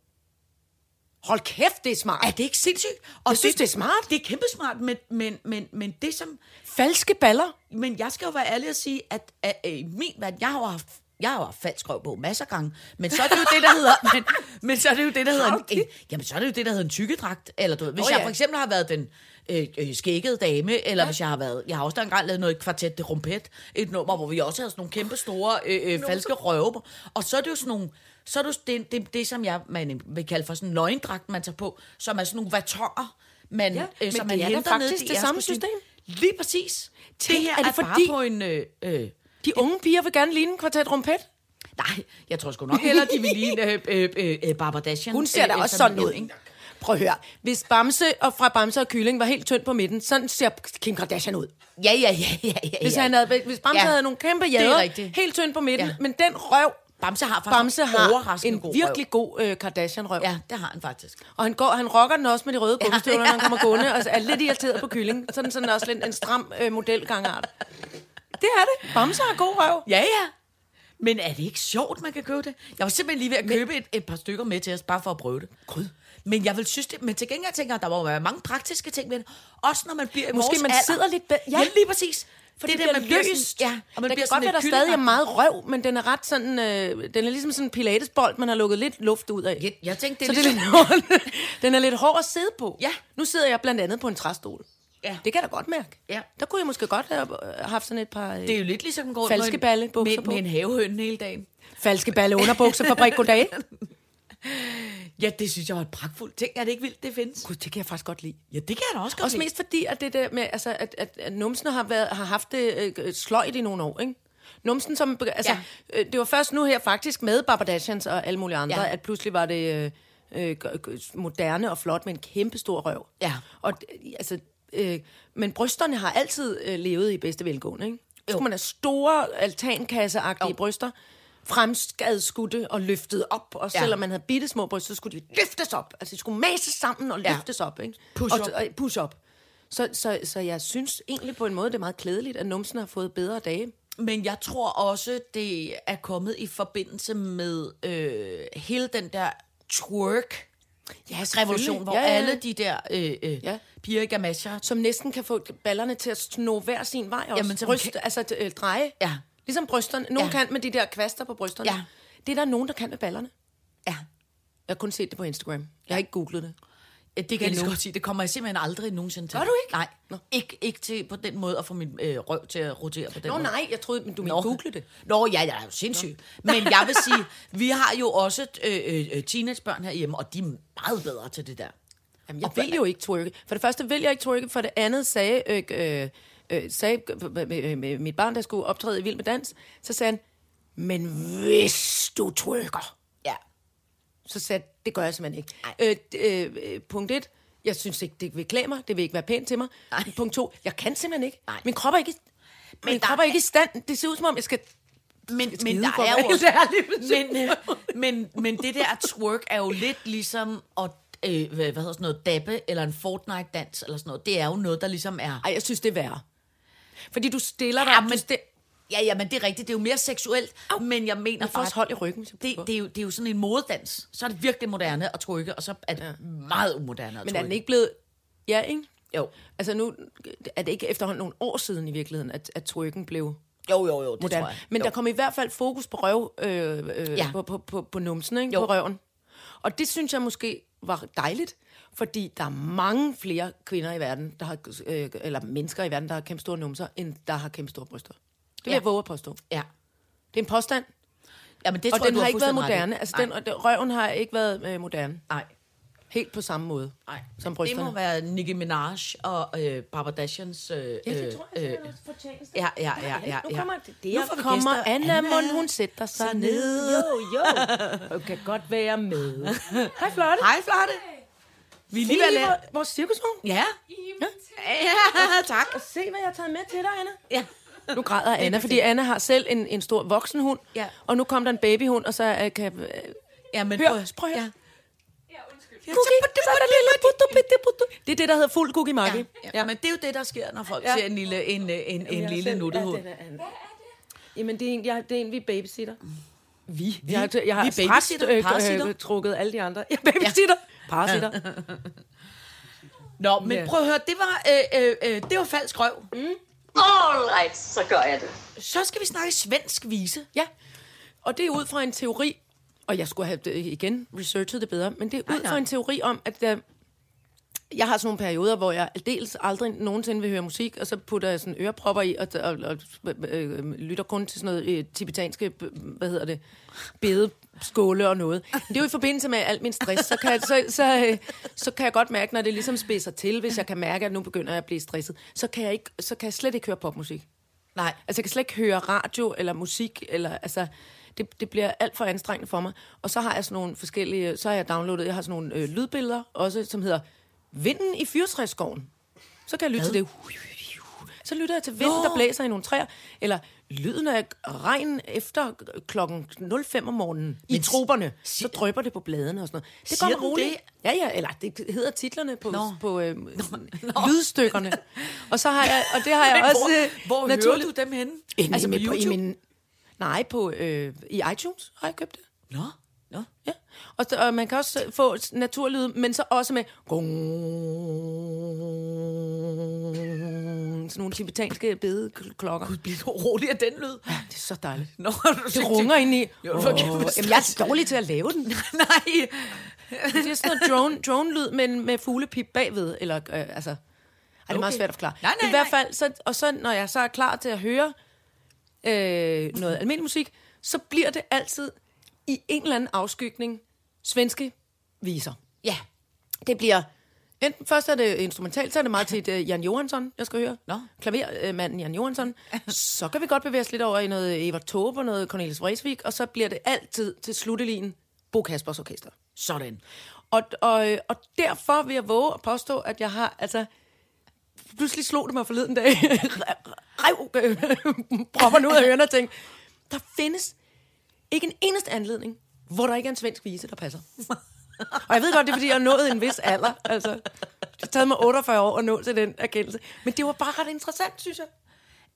Speaker 4: Hold kæft, det er smart.
Speaker 3: Er det ikke sindssygt? Og
Speaker 4: Jeg synes, det er smart.
Speaker 3: Det er kæmpe smart, men, men, men, men det som...
Speaker 4: Falske baller.
Speaker 3: Men jeg skal jo være ærlig og sige, at, at, at i min verden, jeg har jo haft jeg har jo haft falsk røv på masser af gange, men så er det jo det, der
Speaker 4: <laughs>
Speaker 3: hedder, men, men så er det jo det, der hedder en, en, jamen, så er det jo det, der hedder en tykkedragt. Eller, du, ved, hvis
Speaker 4: Nå,
Speaker 3: oh, jeg
Speaker 4: ja.
Speaker 3: for eksempel har været den øh, øh, skækkede dame, eller ja. hvis jeg har været, jeg har også engang lavet noget kvartet de rompet, et nummer, hvor vi også havde sådan nogle kæmpe store øh, øh, falske røve på. Og så er det jo sådan nogle, så er det, jo det, det, det som jeg, man vil kalde for sådan en løgndragt, man tager på, som er sådan nogle vatonger, man, ja,
Speaker 4: Ja,
Speaker 3: øh,
Speaker 4: men
Speaker 3: som
Speaker 4: det
Speaker 3: man
Speaker 4: er da
Speaker 3: henter ned
Speaker 4: faktisk
Speaker 3: i
Speaker 4: det
Speaker 3: jeres
Speaker 4: samme
Speaker 3: kostume.
Speaker 4: system.
Speaker 3: Lige præcis.
Speaker 4: Tænk,
Speaker 3: det her
Speaker 4: er det
Speaker 3: er, bare
Speaker 4: fordi-
Speaker 3: på en... Øh, øh,
Speaker 4: De unge piger vil gerne ligne en kvartet rumpet.
Speaker 3: nej, jeg tror sgu nok heller, de vil ligne øh, øh, øh, øh, Barbara Dashian.
Speaker 4: Hun ser
Speaker 3: øh,
Speaker 4: da
Speaker 3: øh,
Speaker 4: også sådan
Speaker 3: en,
Speaker 4: ud, ikke? Prøv at høre. Hvis Bamse og fra Bamse og Kylling var helt tynd på midten, sådan ser Kim Kardashian ud.
Speaker 3: Ja, ja, ja, ja, ja.
Speaker 4: Hvis,
Speaker 3: ja.
Speaker 4: han havde, hvis Bamse
Speaker 3: Ja.
Speaker 4: ja. havde nogle kæmpe
Speaker 3: Det er
Speaker 4: jader,
Speaker 3: rigtigt.
Speaker 4: helt tynd på midten,
Speaker 3: Ja.
Speaker 4: ja. men den røv,
Speaker 3: Bamse har faktisk
Speaker 4: Bamse har
Speaker 3: overraskende
Speaker 4: en
Speaker 3: god
Speaker 4: virkelig
Speaker 3: røv.
Speaker 4: god øh, Kardashian-røv.
Speaker 3: Ja, det har han faktisk.
Speaker 4: Og han, går, han rocker den også med de røde gummistøvler, når han kommer gående, og er lidt irriteret på kylling. Sådan, sådan også lidt en stram øh, modelgangart. Det er det. Bamse har god røv.
Speaker 3: Ja, ja. Men er det ikke sjovt, man kan købe det? Jeg var simpelthen lige ved at købe et, et par stykker med til os, bare for at prøve det. Gud. Men jeg vil synes det, men til gengæld tænker jeg, der må være mange praktiske ting ved det. Også når man bliver i
Speaker 4: Måske
Speaker 3: vores
Speaker 4: man
Speaker 3: alder.
Speaker 4: sidder lidt be-
Speaker 3: ja.
Speaker 4: ja.
Speaker 3: ja, lige præcis.
Speaker 4: For det, det der, man bliver løst.
Speaker 3: Sådan, ja, og man
Speaker 4: der
Speaker 3: bliver
Speaker 4: kan
Speaker 3: sådan
Speaker 4: godt være,
Speaker 3: lidt
Speaker 4: der stadig er
Speaker 3: kylling-
Speaker 4: meget røv, men den er ret sådan... Øh, den er ligesom sådan en pilatesbold, man har lukket lidt luft ud af.
Speaker 3: Jeg, jeg tænkte,
Speaker 4: så
Speaker 3: det
Speaker 4: det
Speaker 3: er
Speaker 4: er
Speaker 3: lidt...
Speaker 4: lidt hård. <laughs> Den er lidt hård at sidde på.
Speaker 3: Ja.
Speaker 4: Nu sidder jeg blandt andet på en træstol.
Speaker 3: Ja.
Speaker 4: Det kan jeg da godt mærke.
Speaker 3: Ja.
Speaker 4: Der kunne jeg måske godt have øh, haft sådan et par... Øh,
Speaker 3: Det er jo lidt ligesom at gå rundt
Speaker 4: Falske
Speaker 3: med en-
Speaker 4: balle, bukser
Speaker 3: med,
Speaker 4: på.
Speaker 3: med en havehøn hele dagen.
Speaker 4: Falske balle underbuksefabrik, goddag.
Speaker 3: Ja, det synes jeg var et pragtfuldt ting. Er det ikke vildt, det findes?
Speaker 4: Gud, det kan jeg faktisk godt lide.
Speaker 3: Ja, det kan jeg da også godt
Speaker 4: Også
Speaker 3: lide.
Speaker 4: mest fordi, at det der med, altså, at, at, at numsen har, været, har haft det øh, sløjt i nogle år, ikke? Numsen som, altså, ja. øh, det var først nu her faktisk med Barbadashians og alle mulige andre,
Speaker 3: Ja.
Speaker 4: ja. at pludselig var det øh, øh, g- g- moderne og flot med en kæmpe stor røv.
Speaker 3: Ja.
Speaker 4: Og, d- altså, øh, men brysterne har altid øh, levet i bedste velgående, ikke? Så skulle man have store altankasseagtige bryster, fremskadskudte og løftet op, og
Speaker 3: Ja.
Speaker 4: selvom man havde bitte små bryster, så skulle de løftes op. Altså, de skulle mases sammen og
Speaker 3: Ja.
Speaker 4: løftes op, ikke?
Speaker 3: Push
Speaker 4: og,
Speaker 3: up.
Speaker 4: Og push up. Så, så, så jeg synes egentlig på en måde, det er meget klædeligt, at numsen har fået bedre dage.
Speaker 3: Men jeg tror også, det er kommet i forbindelse med øh, hele den der twerk
Speaker 4: Ja,
Speaker 3: revolution, hvor ja, ja. alle de der øh, øh, ja.
Speaker 4: Ja.
Speaker 3: piger i gamasher...
Speaker 4: Som næsten kan få ballerne til at sno hver sin vej også.
Speaker 3: Jamen, så man
Speaker 4: Bryst,
Speaker 3: kan-
Speaker 4: kan... Altså øh, dreje.
Speaker 3: Ja.
Speaker 4: Ligesom brysterne. Nogle
Speaker 3: Ja.
Speaker 4: ja. kan med de der kvaster på brysterne.
Speaker 3: Ja.
Speaker 4: Det er der nogen, der kan med ballerne.
Speaker 3: Ja,
Speaker 4: Jeg har kun set det på Instagram. Jeg har ikke googlet det.
Speaker 3: ja det kan jeg lige så godt sige. Det kommer jeg simpelthen aldrig nogensinde til.
Speaker 4: Gør du ikke?
Speaker 3: Nej,
Speaker 4: Nå.
Speaker 3: ikke, ikke til, på den måde at få min øh, røv til at rotere på den
Speaker 4: Nå
Speaker 3: måde.
Speaker 4: nej, jeg troede, men du mente google det.
Speaker 3: Nå, ja, jeg er jo sindssyg. Nå. Men jeg vil sige, vi har jo også øh, øh, øh, teenagebørn herhjemme, og de er meget bedre til det der.
Speaker 4: Jamen, jeg
Speaker 3: Og
Speaker 4: vil jo ikke twerke. For det første vil jeg ikke twerke, for det andet sagde, øh, øh, øh, sagde øh, øh, øh, mit barn, der skulle optræde i Vild med Dans, så sagde han, men hvis du twerker,
Speaker 3: Ja.
Speaker 4: så sagde jeg, det gør jeg simpelthen ikke. Øh, d- øh, øh, punkt et, jeg synes ikke, det vil klæde mig, det vil ikke være pænt til mig.
Speaker 3: Nej.
Speaker 4: Punkt to, jeg kan simpelthen ikke.
Speaker 3: Nej.
Speaker 4: Min krop er ikke, men min
Speaker 3: der
Speaker 4: krop er
Speaker 3: er-
Speaker 4: ikke i stand. Det ser ud som om, jeg skal...
Speaker 3: Men,
Speaker 4: skide
Speaker 3: men der
Speaker 4: for
Speaker 3: er jo
Speaker 4: <laughs> mig.
Speaker 3: også,
Speaker 4: Helt
Speaker 3: men, øh, men, men det der twerk er jo lidt ligesom at øh, hvad hedder sådan noget, dabbe eller en Fortnite-dans eller sådan noget. Det er jo noget, der ligesom er...
Speaker 4: Ej, jeg synes, det er værre. Fordi du stiller dig...
Speaker 3: Ja,
Speaker 4: du
Speaker 3: men-
Speaker 4: sti-
Speaker 3: Ja, ja, men det er rigtigt. Det er jo mere seksuelt, Au. men jeg mener
Speaker 4: Jeg får
Speaker 3: bare...
Speaker 4: også hold i ryggen, hvis jeg
Speaker 3: det,
Speaker 4: prøver.
Speaker 3: det, er jo, det er jo sådan en modedans. Så er det virkelig moderne at trykke, og så er det ja. meget umoderne at
Speaker 4: men
Speaker 3: twerke.
Speaker 4: er den ikke blevet... Ja, ikke?
Speaker 3: Jo.
Speaker 4: Altså nu er det ikke efterhånden nogle år siden i virkeligheden, at, at twerken blev
Speaker 3: Jo, jo, jo, det
Speaker 4: moderne.
Speaker 3: tror jeg.
Speaker 4: Men
Speaker 3: jo.
Speaker 4: der kom i hvert fald fokus på røv, øh, øh,
Speaker 3: Ja.
Speaker 4: ja. på, på, på, på numsen, ikke?
Speaker 3: Jo.
Speaker 4: på røven. Og det synes jeg måske var dejligt, fordi der er mange flere kvinder i verden, der har, øh, eller mennesker i verden, der har kæmpe store numser, end der har kæmpe store bryster. Det vil
Speaker 3: Ja.
Speaker 4: ja. jeg våge at påstå.
Speaker 3: Ja.
Speaker 4: Det er en påstand,
Speaker 3: ja men det
Speaker 4: og
Speaker 3: tror jeg,
Speaker 4: den
Speaker 3: du
Speaker 4: har ikke været
Speaker 3: fuldstændig ret i.
Speaker 4: moderne. Altså, den, og den, røven har ikke været øh, moderne.
Speaker 3: Nej,
Speaker 4: Helt på samme måde
Speaker 3: nej.
Speaker 4: som
Speaker 3: det
Speaker 4: brysterne.
Speaker 3: må være Nicki Minaj og øh, Barbadashians... Øh, ja,
Speaker 4: det tror jeg,
Speaker 3: øh,
Speaker 4: det er noget fortjeneste.
Speaker 3: Ja, ja, ja, ja.
Speaker 4: Nu kommer det.
Speaker 3: Nu får
Speaker 4: Der
Speaker 3: vi
Speaker 4: kommer
Speaker 3: gæster.
Speaker 4: Anna Mund, hun sætter sig ned. Jo, jo. Hun kan godt være med. Hej, Flotte.
Speaker 3: Hej, Flotte. Vi er lige ved at lave...
Speaker 4: vores cirkusvogn.
Speaker 3: Ja. Ja, tak.
Speaker 4: Se, hvad jeg har taget med til dig, Anna.
Speaker 3: Ja.
Speaker 4: Nu græder Anna, fordi Anna har selv en, en stor voksenhund.
Speaker 3: Ja.
Speaker 4: Og nu kom der en babyhund, og så øh, kan... Øh,
Speaker 3: ja men
Speaker 4: hør,
Speaker 3: prøv,
Speaker 4: prøv at
Speaker 3: ja.
Speaker 4: høre. Cookie. Det er det, der hedder fuld cookie
Speaker 3: Ja,
Speaker 4: makke.
Speaker 3: ja. ja, men det er jo det, der sker, når folk ja. ser en lille, en, øh, en, en lille nuttehund.
Speaker 4: Jamen, det er en, jeg, det er en vi babysitter. Vi? Jeg, har- jeg har
Speaker 3: Vi babysitter,
Speaker 4: straks, øh,
Speaker 3: parasitter.
Speaker 4: øh, trukket alle de andre. <laughs> Jeg babysitter. Ja. Parasitter.
Speaker 3: Nå, men
Speaker 4: Ja. Mm.
Speaker 3: prøv at høre, det var, øh, øh, øh, det var falsk røv.
Speaker 2: Alright, så gør jeg det.
Speaker 3: Så skal vi snakke svensk vise.
Speaker 4: Ja, og det er ud fra en teori, og jeg skulle have øh, igen researchet det bedre, men det er ud
Speaker 3: nej.
Speaker 4: fra en teori om, at øh, jeg har sådan nogle perioder, hvor jeg aldeles aldrig nogensinde vil høre musik, og så putter jeg sådan ørepropper i, og, og, og øh, øh, lytter kun til sådan noget øh, tibetanske, b- hvad hedder det, bedeskåle og noget. Men det er jo i forbindelse med alt min stress, så kan, jeg, så, så, øh, så kan jeg godt mærke, når det ligesom spidser til, hvis jeg kan mærke, at nu begynder jeg at blive stresset, så kan jeg, ikke, så kan jeg slet ikke høre popmusik.
Speaker 3: Nej.
Speaker 4: Altså, jeg kan slet ikke høre radio eller musik, eller altså... Det, det bliver alt for anstrengende for mig. Og så har jeg sådan nogle forskellige... Så har jeg downloadet... Jeg har sådan nogle øh, lydbilleder også, som hedder Vinden i fyrtræsskoven. Så kan jeg lytte til det. Så lytter jeg til vinden, der blæser i nogle træer. Eller lyden af regn efter klokken 05 om morgenen i
Speaker 3: Men si-
Speaker 4: troberne. Så drøber det på bladene og sådan noget. Det
Speaker 3: Siger
Speaker 4: går mig
Speaker 3: den
Speaker 4: roligt.
Speaker 3: det?
Speaker 4: Ja, ja, eller det hedder titlerne på,
Speaker 3: Nå.
Speaker 4: på øh, lydstykkerne. Og så har jeg, og det har jeg
Speaker 3: Men
Speaker 4: også
Speaker 3: hvor-
Speaker 4: øh,
Speaker 3: hvor hører
Speaker 4: naturligt-
Speaker 3: du dem henne?
Speaker 4: Inde
Speaker 3: Altså
Speaker 4: altså
Speaker 3: på
Speaker 4: i, min, i
Speaker 3: YouTube?
Speaker 4: min Nej, på, øh, i iTunes har jeg købt det.
Speaker 3: Nå, nå.
Speaker 4: Ja. Og, så- og man kan også øh, få s- naturlyde, men så også med... gong. Sådan nogle tibetanske bedeklokker.
Speaker 3: Bliver du rolig af den lyd?
Speaker 4: Det er så dejligt.
Speaker 3: Nå,
Speaker 4: Det runger ind i.
Speaker 3: Jo, hvor kan
Speaker 4: Åh,
Speaker 3: du-
Speaker 4: Jamen, jeg er dårlig til at lave den.
Speaker 3: <laughs> Nej.
Speaker 4: Det er sådan noget drone, drone-lyd, men med fuglepip bagved, eller øh, altså... Ej, det er meget
Speaker 3: Okay.
Speaker 4: svært at forklare.
Speaker 3: Nej, nej,
Speaker 4: I hvert
Speaker 3: nej.
Speaker 4: fald, så, og så når jeg så er klar til at høre øh, noget almindelig musik, så bliver det altid i en eller anden afskygning svenske viser.
Speaker 3: Ja.
Speaker 4: Det bliver... Enten først er det instrumentalt, så er det meget tit uh, Jan Johansson, jeg skal høre.
Speaker 3: Nå.
Speaker 4: Klavermanden Jan Johansson. Så kan vi godt bevæge os lidt over i noget Evert Taube og noget Cornelis Vreeswijk, og så bliver det altid til sluttelinen Bo Kaspers Orkester.
Speaker 3: Sådan.
Speaker 4: Og, og, øh, og derfor vil jeg våge at påstå, at jeg har, altså, pludselig slog det mig forleden dag, <laughs> rev, øh, proppen ud af ørerne og tænkte, der findes ikke en eneste anledning, hvor der ikke er en svensk vise, der passer. Og jeg ved godt, det er, fordi jeg er nået en vis alder. Altså, det har taget mig 48 år at nå til den erkendelse. Men det var bare ret interessant, synes jeg.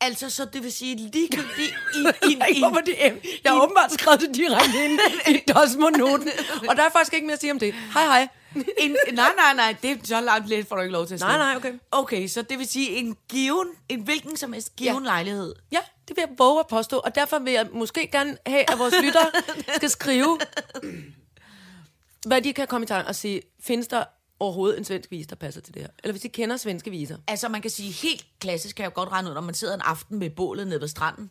Speaker 3: Altså, så det vil sige ligegyldigt <laughs> i, i, i,
Speaker 4: Jeg, håber, det er, jeg har åbenbart skrevet det direkte ind i DOS-monoten. Og der er faktisk ikke mere at sige om det. Hej, hej.
Speaker 3: en, nej, nej, nej, det er så langt lidt, får du ikke lov til at
Speaker 4: Nej,
Speaker 3: sige.
Speaker 4: nej, okay.
Speaker 3: Okay, så det vil sige en given, en hvilken som helst given ja.
Speaker 4: Ja.
Speaker 3: lejlighed.
Speaker 4: Ja, det vil jeg våge at påstå, og derfor vil jeg måske gerne have, at vores lyttere skal skrive, hvad de kan komme i tanke og sige, findes der overhovedet en svensk vis, der passer til det her? Eller hvis de kender svenske viser.
Speaker 3: Altså, man kan sige, helt klassisk kan jeg jo godt regne ud, når man sidder en aften med bålet nede ved stranden.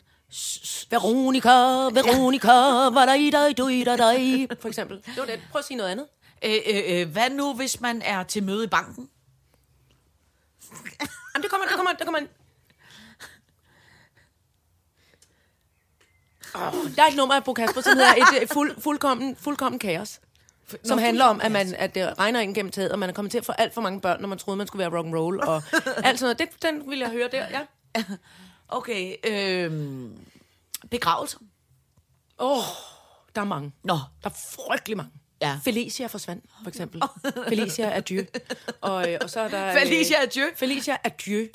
Speaker 4: Veronica, Veronica, var der i dig, du i dig, dig. For eksempel. Det var det. Prøv at sige noget andet.
Speaker 3: Øh, øh, øh, hvad nu, hvis man er til møde i banken?
Speaker 4: Jamen, det kommer, det kommer, det kommer. Oh, der er et nummer af Bo Kasper, som hedder et øh, fuld, fuldkommen, fuldkommen kaos. Som handler om, at, man, at det regner ind gennem taget, og man er kommet til at få alt for mange børn, når man troede, man skulle være rock and roll og alt sådan noget. Det, den ville jeg høre der, ja.
Speaker 3: Okay, øh, begravelser.
Speaker 4: Åh, oh, der er mange.
Speaker 3: Nå,
Speaker 4: Der er frygtelig mange.
Speaker 3: Ja.
Speaker 4: Felicia forsvandt, for eksempel. Felicia Adieu. Og, øh, og så er der... øh,
Speaker 3: Felicia Adieu.
Speaker 4: Felicia Adieu.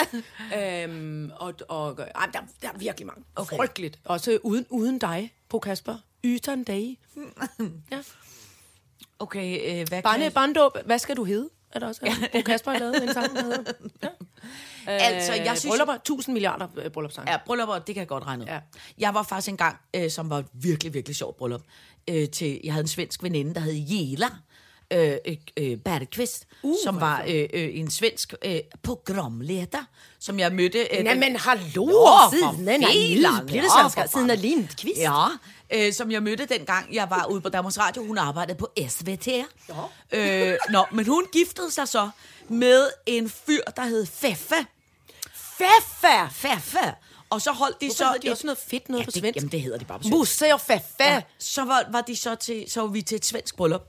Speaker 4: øhm, og, og, øh, ej, der, der er virkelig mange. Okay. Frygteligt. Også uden, uden dig, på Kasper.
Speaker 3: <laughs>
Speaker 4: Ytern dag. ja.
Speaker 3: okay, øh, hvad
Speaker 4: Barne,
Speaker 3: kan...
Speaker 4: barndåb, hvad skal du hedde? Er der også ja. Bo Kasper har lavet en sang,
Speaker 3: <laughs>
Speaker 4: der hedder. Øh,
Speaker 3: altså, jeg synes...
Speaker 4: Bryllupper, 1000 milliarder øh, bryllupssange.
Speaker 3: Ja, bryllupper, det kan jeg godt regne ud.
Speaker 4: Ja.
Speaker 3: Jeg var faktisk engang, øh, som var et virkelig, virkelig sjovt bryllup, øh, til, jeg havde en svensk veninde, der hed Jela øh, øh, øh, Bergqvist, uh, som var øh, øh, en svensk øh, programleder, som jeg mødte. Øh, den-
Speaker 4: hallo,
Speaker 3: Nå, for filan. Nå, for fanden.
Speaker 4: Lindqvist. Ja.
Speaker 3: Ja, øh, som jeg mødte dengang, jeg var ude på Danmarks Radio. Hun arbejdede på SVT. Ja. Øh, nå, men hun giftede sig så med en fyr, der hed Feffe. Feffe! Feffe! Og så holdt de
Speaker 4: Hvorfor
Speaker 3: så...
Speaker 4: hedder de
Speaker 3: et-
Speaker 4: også noget fedt noget
Speaker 3: ja,
Speaker 4: på
Speaker 3: det-
Speaker 4: svensk?
Speaker 3: Jamen, det hedder de bare på svensk.
Speaker 4: Busse og faffa.
Speaker 3: Ja, så var, var de så til, så var vi til et svensk bryllup,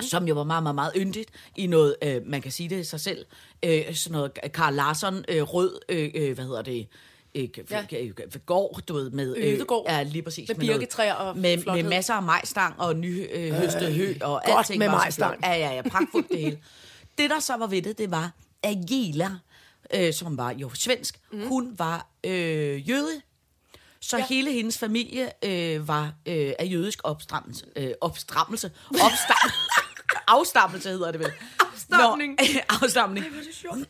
Speaker 3: som jo var meget, meget, meget yndigt i noget, øh, man kan sige det i sig selv, øh, sådan noget Karl Larsson, øh, rød, øh, øh, hvad hedder det, øh, ja.
Speaker 4: Ja.
Speaker 3: gård, du ved, med... øh,
Speaker 4: Ødegård.
Speaker 3: Ja, lige præcis.
Speaker 4: Med
Speaker 3: noget-
Speaker 4: birketræer og
Speaker 3: med, med
Speaker 4: flothed.
Speaker 3: masser af majstang og nyhøstet øh, hø og
Speaker 4: godt
Speaker 3: alting.
Speaker 4: med
Speaker 3: var så
Speaker 4: majstang.
Speaker 3: flot. Ja, ja, ja, pragtfuldt det
Speaker 4: <laughs>
Speaker 3: hele. Det, der så var ved det, det var, at Jela, øh, som var jo svensk,
Speaker 4: Mhm.
Speaker 3: mm. hun var øh, jøde, så ja. hele hendes familie øh, var øh, af jødisk opstrammelse. Øh, opstrammelse. Opstam- <laughs> afstammelse hedder det vel.
Speaker 4: Afstamning.
Speaker 3: Nå, <laughs> afstamning.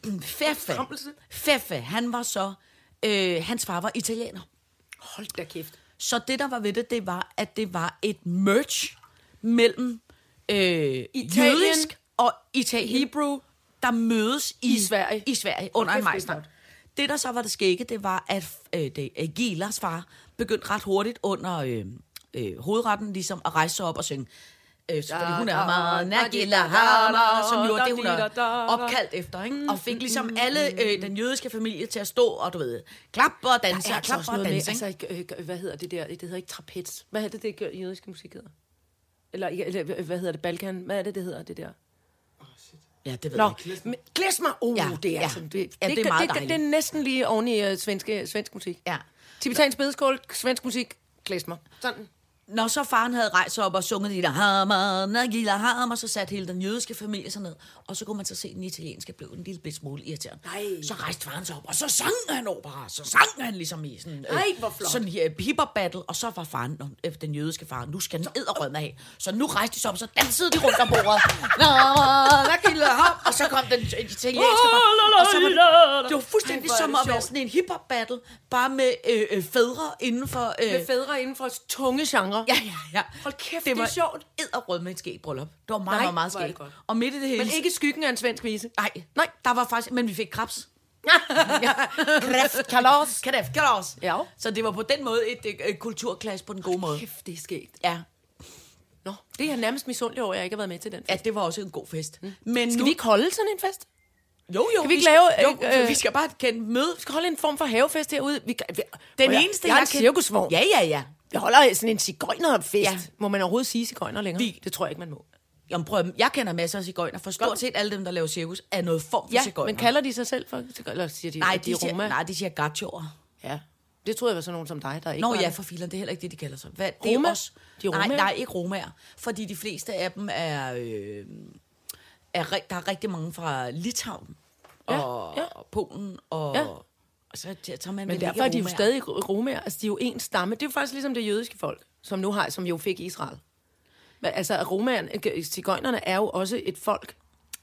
Speaker 3: Mm, Feffe. Feffe, han var så... Øh, hans far var italiener.
Speaker 4: Hold da kæft.
Speaker 3: Så det, der var ved det, det var, at det var et merge mellem øh,
Speaker 4: Italien.
Speaker 3: jødisk og Italien. Hebrew. Der mødes i,
Speaker 4: I Sverige.
Speaker 3: I Sverige under
Speaker 4: kæft,
Speaker 3: en
Speaker 4: det er
Speaker 3: majstang.
Speaker 4: godt.
Speaker 3: Det, der så var det skægge, det var, at øh, det, øh, Gilas far begyndte ret hurtigt under øh, øh, hovedretten ligesom at rejse sig op og synge. Øh, så- fordi hun er meget Nagila Hama, som jo er det, hun er opkaldt efter, ikke? Og fik ligesom alle øh, den jødiske familie til at stå og, du ved, klappe og danse, og klappe og danse, ikke?
Speaker 4: altså, ikke, øh, hvad hedder det der? Det hedder ikke trapez. Hvad er det, det gør- jødiske musik hedder? Eller, ikke- eller hvad hedder det? Balkan? Hvad er det, det hedder, det der?
Speaker 3: Ja, det ved
Speaker 4: altså- Nå,
Speaker 3: jeg ikke.
Speaker 4: men glæsmer. Oh,
Speaker 3: Ja,
Speaker 4: ja, det er
Speaker 3: ja.
Speaker 4: ja. sådan. Det,
Speaker 3: Ja, det er meget
Speaker 4: det, det,
Speaker 3: dejligt.
Speaker 4: det, er næsten lige oven i uh, svenske, svensk musik.
Speaker 3: Ja.
Speaker 4: Tibetansk bedeskål, svensk musik, glæsmer. Sådan.
Speaker 3: Når så faren havde rejst sig op og sunget de der hammer, nagila hammer, så satte hele den jødiske familie sig ned, og så kunne man så se, at den italienske blev en lille bit smule irriterende. Nej. Så rejste faren sig op, og så sang han opera, så sang han ligesom i sådan,
Speaker 4: Ej, hvor flot.
Speaker 3: sådan her hip-hop battle, og så var faren, nå, øh, den jødiske far, nu skal den edderrømme af. Så nu rejste de sig op, og så dansede de rundt om bordet. Hammer, nagila hammer, og så kom den italienske far, og så var det, det var fuldstændig
Speaker 4: Ej, hvor er
Speaker 3: som
Speaker 4: det
Speaker 3: at være
Speaker 4: sjovt.
Speaker 3: sådan en hip-hop battle, bare med øh, øh, fædre inden for... Øh,
Speaker 4: Med fædre inden for tunge genre.
Speaker 3: Ja, ja, ja.
Speaker 4: Hold kæft, det er sjovt.
Speaker 3: Det var edderrød med et skægt bryllup. Det var meget,
Speaker 4: Nej,
Speaker 3: meget, meget
Speaker 4: hvor er det
Speaker 3: skægt.
Speaker 4: godt.
Speaker 3: Og midt i det hele...
Speaker 4: Men ikke skyggen af en svensk vise.
Speaker 3: <laughs> Nej, nej, der var faktisk... Men vi fik krebs. Kræft, kalos. Kræft, kalos.
Speaker 4: Ja.
Speaker 3: Så det var på den måde et, et, et kulturklasse på den gode måde.
Speaker 4: Kæft, det er sket.
Speaker 3: Ja.
Speaker 4: Nå, det er jeg nærmest misundelig over, at jeg ikke har været med til den.
Speaker 3: ja, det var også en god fest. Men
Speaker 4: Mm. Skal
Speaker 3: nu,
Speaker 4: vi ikke holde sådan en fest?
Speaker 3: Jo, jo.
Speaker 4: Kan vi ikke lave...
Speaker 3: Skal, jo,
Speaker 4: øh,
Speaker 3: øh, vi skal bare kende møde.
Speaker 4: Vi skal holde en form for havefest herude. Vi, kan- vi,
Speaker 3: Den
Speaker 4: Og
Speaker 3: eneste,
Speaker 4: jeg,
Speaker 3: jeg
Speaker 4: jeg, jeg
Speaker 3: kan-
Speaker 4: er cirkusvogn.
Speaker 3: Ja, ja, ja.
Speaker 4: Vi holder sådan en cigøjnerfest.
Speaker 3: Ja.
Speaker 4: Ja. Må man overhovedet sige cigøjner længere?
Speaker 3: Vi-
Speaker 4: Det tror jeg ikke, man må.
Speaker 3: Jamen prøv, at- jeg kender masser af cigøjner, for stort set alle dem, der laver cirkus, er noget form for
Speaker 4: Ja,
Speaker 3: cigøjner.
Speaker 4: men kalder de sig selv for cigøjner? Eller siger de,
Speaker 3: nej,
Speaker 4: at de, er
Speaker 3: siger,
Speaker 4: Roma?
Speaker 3: nej, de siger gachoer.
Speaker 4: Ja. Det troede jeg var sådan nogen som dig, der ikke
Speaker 3: Nå
Speaker 4: var
Speaker 3: ja,
Speaker 4: det.
Speaker 3: for filen, det er heller ikke det, de kalder sig. Hvad, det er
Speaker 4: Roma?
Speaker 3: også,
Speaker 4: De er
Speaker 3: nej,
Speaker 4: romaer?
Speaker 3: nej, ikke romaer. Fordi de fleste af dem er... Øh, er ri- der er rigtig mange fra Litauen
Speaker 4: Ja,
Speaker 3: og,
Speaker 4: ja.
Speaker 3: og Polen. Og,
Speaker 4: Ja.
Speaker 3: og så t- tager man
Speaker 4: Men
Speaker 3: vel ikke
Speaker 4: derfor er de jo
Speaker 3: romaer.
Speaker 4: stadig romer. Altså, de er jo en stamme. Det er jo faktisk ligesom det jødiske folk, som nu har, som jo fik Israel. Men altså, romerne, cigøjnerne er jo også et folk,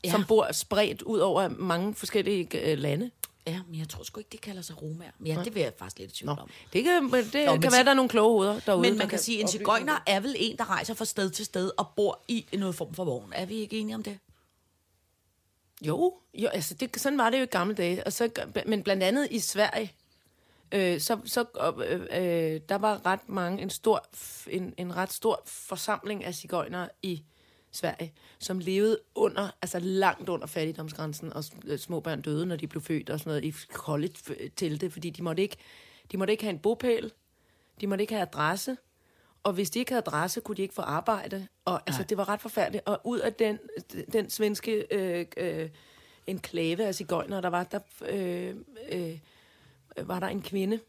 Speaker 3: Ja.
Speaker 4: ja. som bor spredt ud over mange forskellige øh, lande.
Speaker 3: Ja, men jeg tror sgu ikke, de kalder sig romaer. Men ja, det vil jeg faktisk lidt i tvivl
Speaker 4: Nå.
Speaker 3: om.
Speaker 4: Det kan, men det
Speaker 3: Nå,
Speaker 4: Nå,
Speaker 3: men
Speaker 4: kan
Speaker 3: så-
Speaker 4: være, der er nogle kloge hoveder derude.
Speaker 3: Men
Speaker 4: der
Speaker 3: man kan sige, at en
Speaker 4: oplyse
Speaker 3: cigøjner er vel en, der rejser fra sted til sted og bor i noget form for vogn. Er vi ikke enige om det?
Speaker 4: Jo, jo altså det, sådan var det jo i gamle dage. Og så, gør- men blandt andet i Sverige, øh, så, så øh, øh, der var ret mange, en, stor, f- en, en ret stor forsamling af cigøjnere i Sverige, som levede under, altså langt under fattigdomsgrænsen, og s- øh, små børn døde, når de blev født og sådan noget, i kolde f- telte, fordi de måtte ikke, de måtte ikke have en bopæl, de måtte ikke have adresse, og hvis de ikke havde adresse, kunne de ikke få arbejde. Og altså, det var ret forfærdeligt. Og ud af den, den svenske øh, øh, enklave af cigøjner, der var, der øh, øh, var der en kvinde,